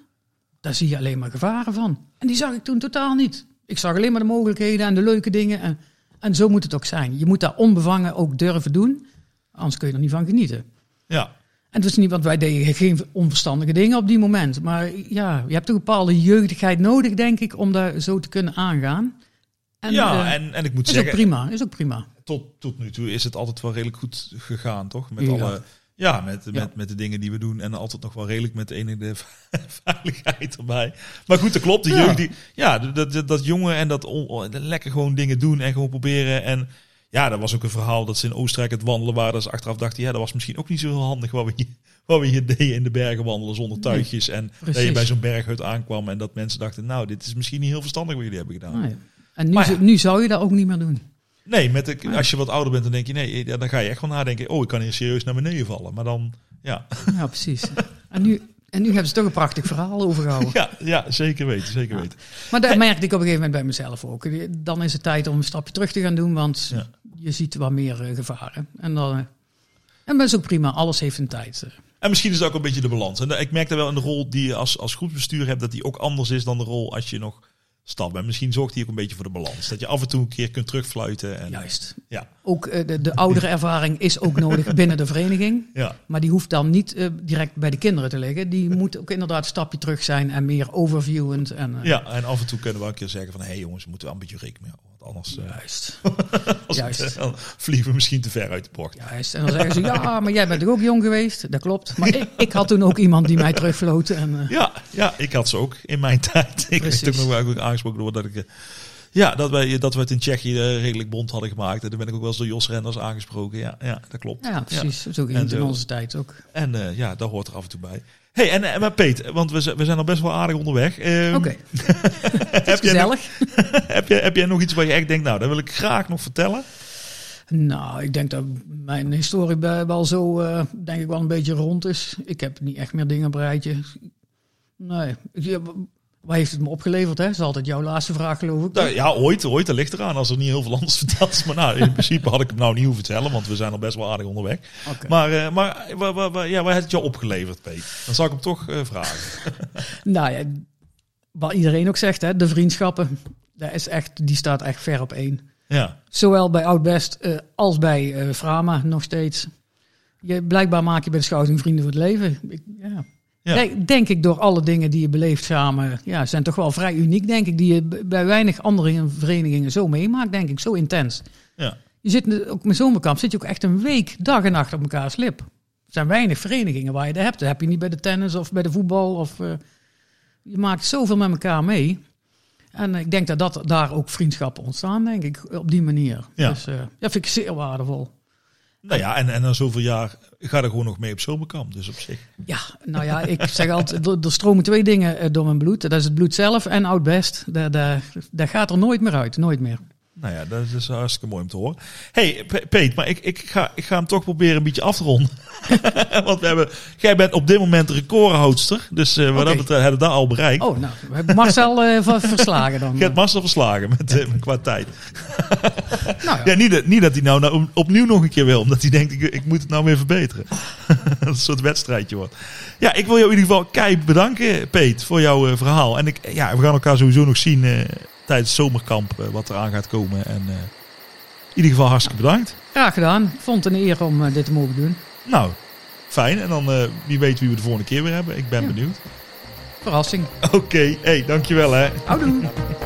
Speaker 3: daar zie je alleen maar gevaren van. En die zag ik toen totaal niet. Ik zag alleen maar de mogelijkheden en de leuke dingen. En, en zo moet het ook zijn. Je moet daar onbevangen ook durven doen, anders kun je er niet van genieten.
Speaker 2: Ja.
Speaker 3: En het is niet, want wij deden geen onverstandige dingen op die moment. Maar ja, je hebt toch een bepaalde jeugdigheid nodig, denk ik, om daar zo te kunnen aangaan. En,
Speaker 2: ja,
Speaker 3: eh,
Speaker 2: en, en ik moet
Speaker 3: is ook
Speaker 2: zeggen,
Speaker 3: prima, is ook prima.
Speaker 2: tot, tot nu toe is het altijd wel redelijk goed gegaan, toch? Met
Speaker 3: Ja.
Speaker 2: alle. Ja, met,
Speaker 3: Ja.
Speaker 2: Met, met de dingen die we doen. En altijd nog wel redelijk met enige <laughs> veiligheid erbij. Maar goed, dat klopt. De
Speaker 3: Ja.
Speaker 2: jeugd die, ja, dat, dat, dat jongen en dat on- on- lekker gewoon dingen doen en gewoon proberen. En ja, dat was ook een verhaal dat ze in Oostenrijk het wandelen waren. Dat ze achteraf dachten, ja, dat was misschien ook niet zo heel handig wat we hier, <laughs> wat we hier deden in de bergen wandelen zonder tuigjes. en dat je
Speaker 3: precies.
Speaker 2: bij zo'n berghut aankwam en dat mensen dachten, nou, dit is misschien niet heel verstandig wat jullie hebben gedaan.
Speaker 3: Nou ja. En nu,
Speaker 2: Maar ja.
Speaker 3: zo- nu zou je dat ook niet meer doen.
Speaker 2: Nee, met de, als je wat ouder bent, dan denk je, nee, ja, dan ga je echt wel nadenken. Oh, ik kan hier serieus naar beneden vallen. Maar dan, ja, <laughs>
Speaker 3: Ja, precies. En nu, en nu hebben ze toch een prachtig verhaal overgehouden.
Speaker 2: ja, ja zeker weten, zeker
Speaker 3: Ja.
Speaker 2: weten.
Speaker 3: Maar
Speaker 2: <laughs>
Speaker 3: dat merkte ik op een gegeven moment bij mezelf ook. Dan is het tijd om een stapje terug te gaan doen, want
Speaker 2: Ja.
Speaker 3: je ziet wat meer eh, gevaren. En, dan, eh, en dat is ook prima, alles heeft een tijd. eh.
Speaker 2: En misschien is dat ook een beetje de balans. En ik merk daar wel in de rol die je als, als groepsbestuur hebt, dat die ook anders is dan de rol als je nog stap bent. Misschien zorgt die ook een beetje voor de balans. Dat je af en toe een keer kunt terugfluiten. En,
Speaker 3: Juist.
Speaker 2: Ja,
Speaker 3: Ook eh, de, de oudere ervaring is ook
Speaker 2: <laughs>
Speaker 3: nodig binnen de vereniging.
Speaker 2: ja,
Speaker 3: Maar die hoeft dan niet eh, direct bij de kinderen te liggen.
Speaker 2: <laughs>
Speaker 3: Die moet ook inderdaad een stapje terug zijn en meer overviewend. En, eh,
Speaker 2: ja. En af en toe kunnen we wel een keer zeggen van, hé hey jongens, we moeten wel een beetje rekening houden. Want anders eh,
Speaker 3: Juist.
Speaker 2: als het,
Speaker 3: Juist.
Speaker 2: eh, <laughs> dan vliegen we misschien te ver uit de bocht.
Speaker 3: Juist. En dan zeggen ze, ja, maar jij bent toch ook jong geweest? Dat klopt.
Speaker 2: <laughs>
Speaker 3: Maar ik, ik had toen ook iemand die mij terugvloot. En, eh,
Speaker 2: Ja, ja, ik had ze ook in mijn <laughs> tijd. Ik
Speaker 3: Precies.
Speaker 2: werd ook nog wel eigenlijk aangesproken door dat ik. eh, Ja, dat wij, dat we het in Tsjechië eh, redelijk bond hadden gemaakt. En daar ben ik ook wel eens door Jos Renders aangesproken. Ja, ja dat klopt.
Speaker 3: ja, precies. Zo ging
Speaker 2: En
Speaker 3: het in
Speaker 2: zo.
Speaker 3: onze tijd ook.
Speaker 2: En eh, ja, dat hoort er af en toe bij. hey, en eh, maar Peet, want we, zijn- we zijn al best wel aardig onderweg. Ehm,
Speaker 3: Oké,
Speaker 2: <laughs> heb, jij nog,
Speaker 3: gezellig.
Speaker 2: heb, jij, heb jij nog iets waar je echt denkt, nou, dat wil ik graag nog vertellen?
Speaker 3: Nou, ik denk dat mijn historie bij- wel zo, eh, denk ik wel een beetje rond is. Ik heb niet echt meer dingen op een rijtje. Nee. Ik- ja, Wat heeft het me opgeleverd, hè? Dat is altijd jouw laatste vraag, geloof ik.
Speaker 2: Nou, ja, ooit, ooit, dat ligt eraan als er niet heel veel anders <laughs> verteld is. Maar nou, in principe had ik hem nou niet hoeven vertellen, want we zijn al best wel aardig onderweg.
Speaker 3: Oké.
Speaker 2: Maar, eh, maar waar, waar, waar- ja, waar heeft het jou opgeleverd, Peet? Dan zal ik hem toch eh, vragen.
Speaker 3: Nou ja, wat iedereen ook zegt, hè? De vriendschappen, dat is echt, die staat echt ver op één.
Speaker 2: Ja,
Speaker 3: Zowel bij Oudbest eh als bij eh, Frama nog steeds. Je, blijkbaar maak je bij de Schouting vrienden voor het leven. Ik, ja.
Speaker 2: Ja.
Speaker 3: Denk, denk ik door alle dingen die je beleeft samen. Ja, zijn toch wel vrij uniek, denk ik. Die je b- bij weinig andere verenigingen zo meemaakt, denk ik. Zo intens.
Speaker 2: ja.
Speaker 3: Je zit nu- ook met zomerkamp zit je ook echt een week dag en nacht op elkaars lip. Er zijn weinig verenigingen waar je dat hebt. Dat heb je niet bij de tennis of bij de voetbal. Of, eh, je maakt zoveel met elkaar mee. En eh, ik denk dat, dat daar ook vriendschappen ontstaan, denk ik, op die manier.
Speaker 2: Ja.
Speaker 3: Dus eh dat vind ik zeer waardevol.
Speaker 2: Nou ja, en, en na zoveel jaar ga er gewoon nog mee op zomerkamp. Dus op zich.
Speaker 3: Ja, nou ja, ik zeg altijd, er, er stromen twee dingen eh, door mijn bloed. Dat is het bloed zelf en oud-best. Daar, daar, daar gaat er nooit meer uit, nooit meer.
Speaker 2: Nou ja, dat is hartstikke mooi om te horen. hey, Pe- Peet, maar ik, ik, ga, ik ga hem toch proberen een beetje af te ronden. <laughs> Want we hebben, jij bent op dit moment recordhoudster. Dus eh, wat
Speaker 3: Oké.
Speaker 2: dat betreft hebben we dat al bereikt.
Speaker 3: Oh, nou, we hebben Marcel eh, ver- verslagen dan.
Speaker 2: Gert Master verslagen met, eh, qua tijd.
Speaker 3: Nou ja.
Speaker 2: Ja, niet, dat- niet dat hij nou, nou om- opnieuw nog een keer wil. Omdat hij denkt, ik, ik moet het nou weer verbeteren. <laughs> dat een soort wedstrijdje wordt. Ja, ik wil jou in ieder geval kei bedanken, Peet, voor jouw eh, verhaal. En ik, ja, we gaan elkaar sowieso nog zien eh, tijdens het zomerkamp eh, wat eraan gaat komen. En eh, in ieder geval hartstikke bedankt.
Speaker 3: Graag gedaan. Ik vond het een eer om eh, dit te mogen doen.
Speaker 2: Nou, fijn. En dan eh, wie weet wie we de volgende keer weer hebben. Ik ben
Speaker 3: Ja.
Speaker 2: benieuwd.
Speaker 3: Verrassing.
Speaker 2: Oké, hey, dankjewel hè.
Speaker 3: Houdoe.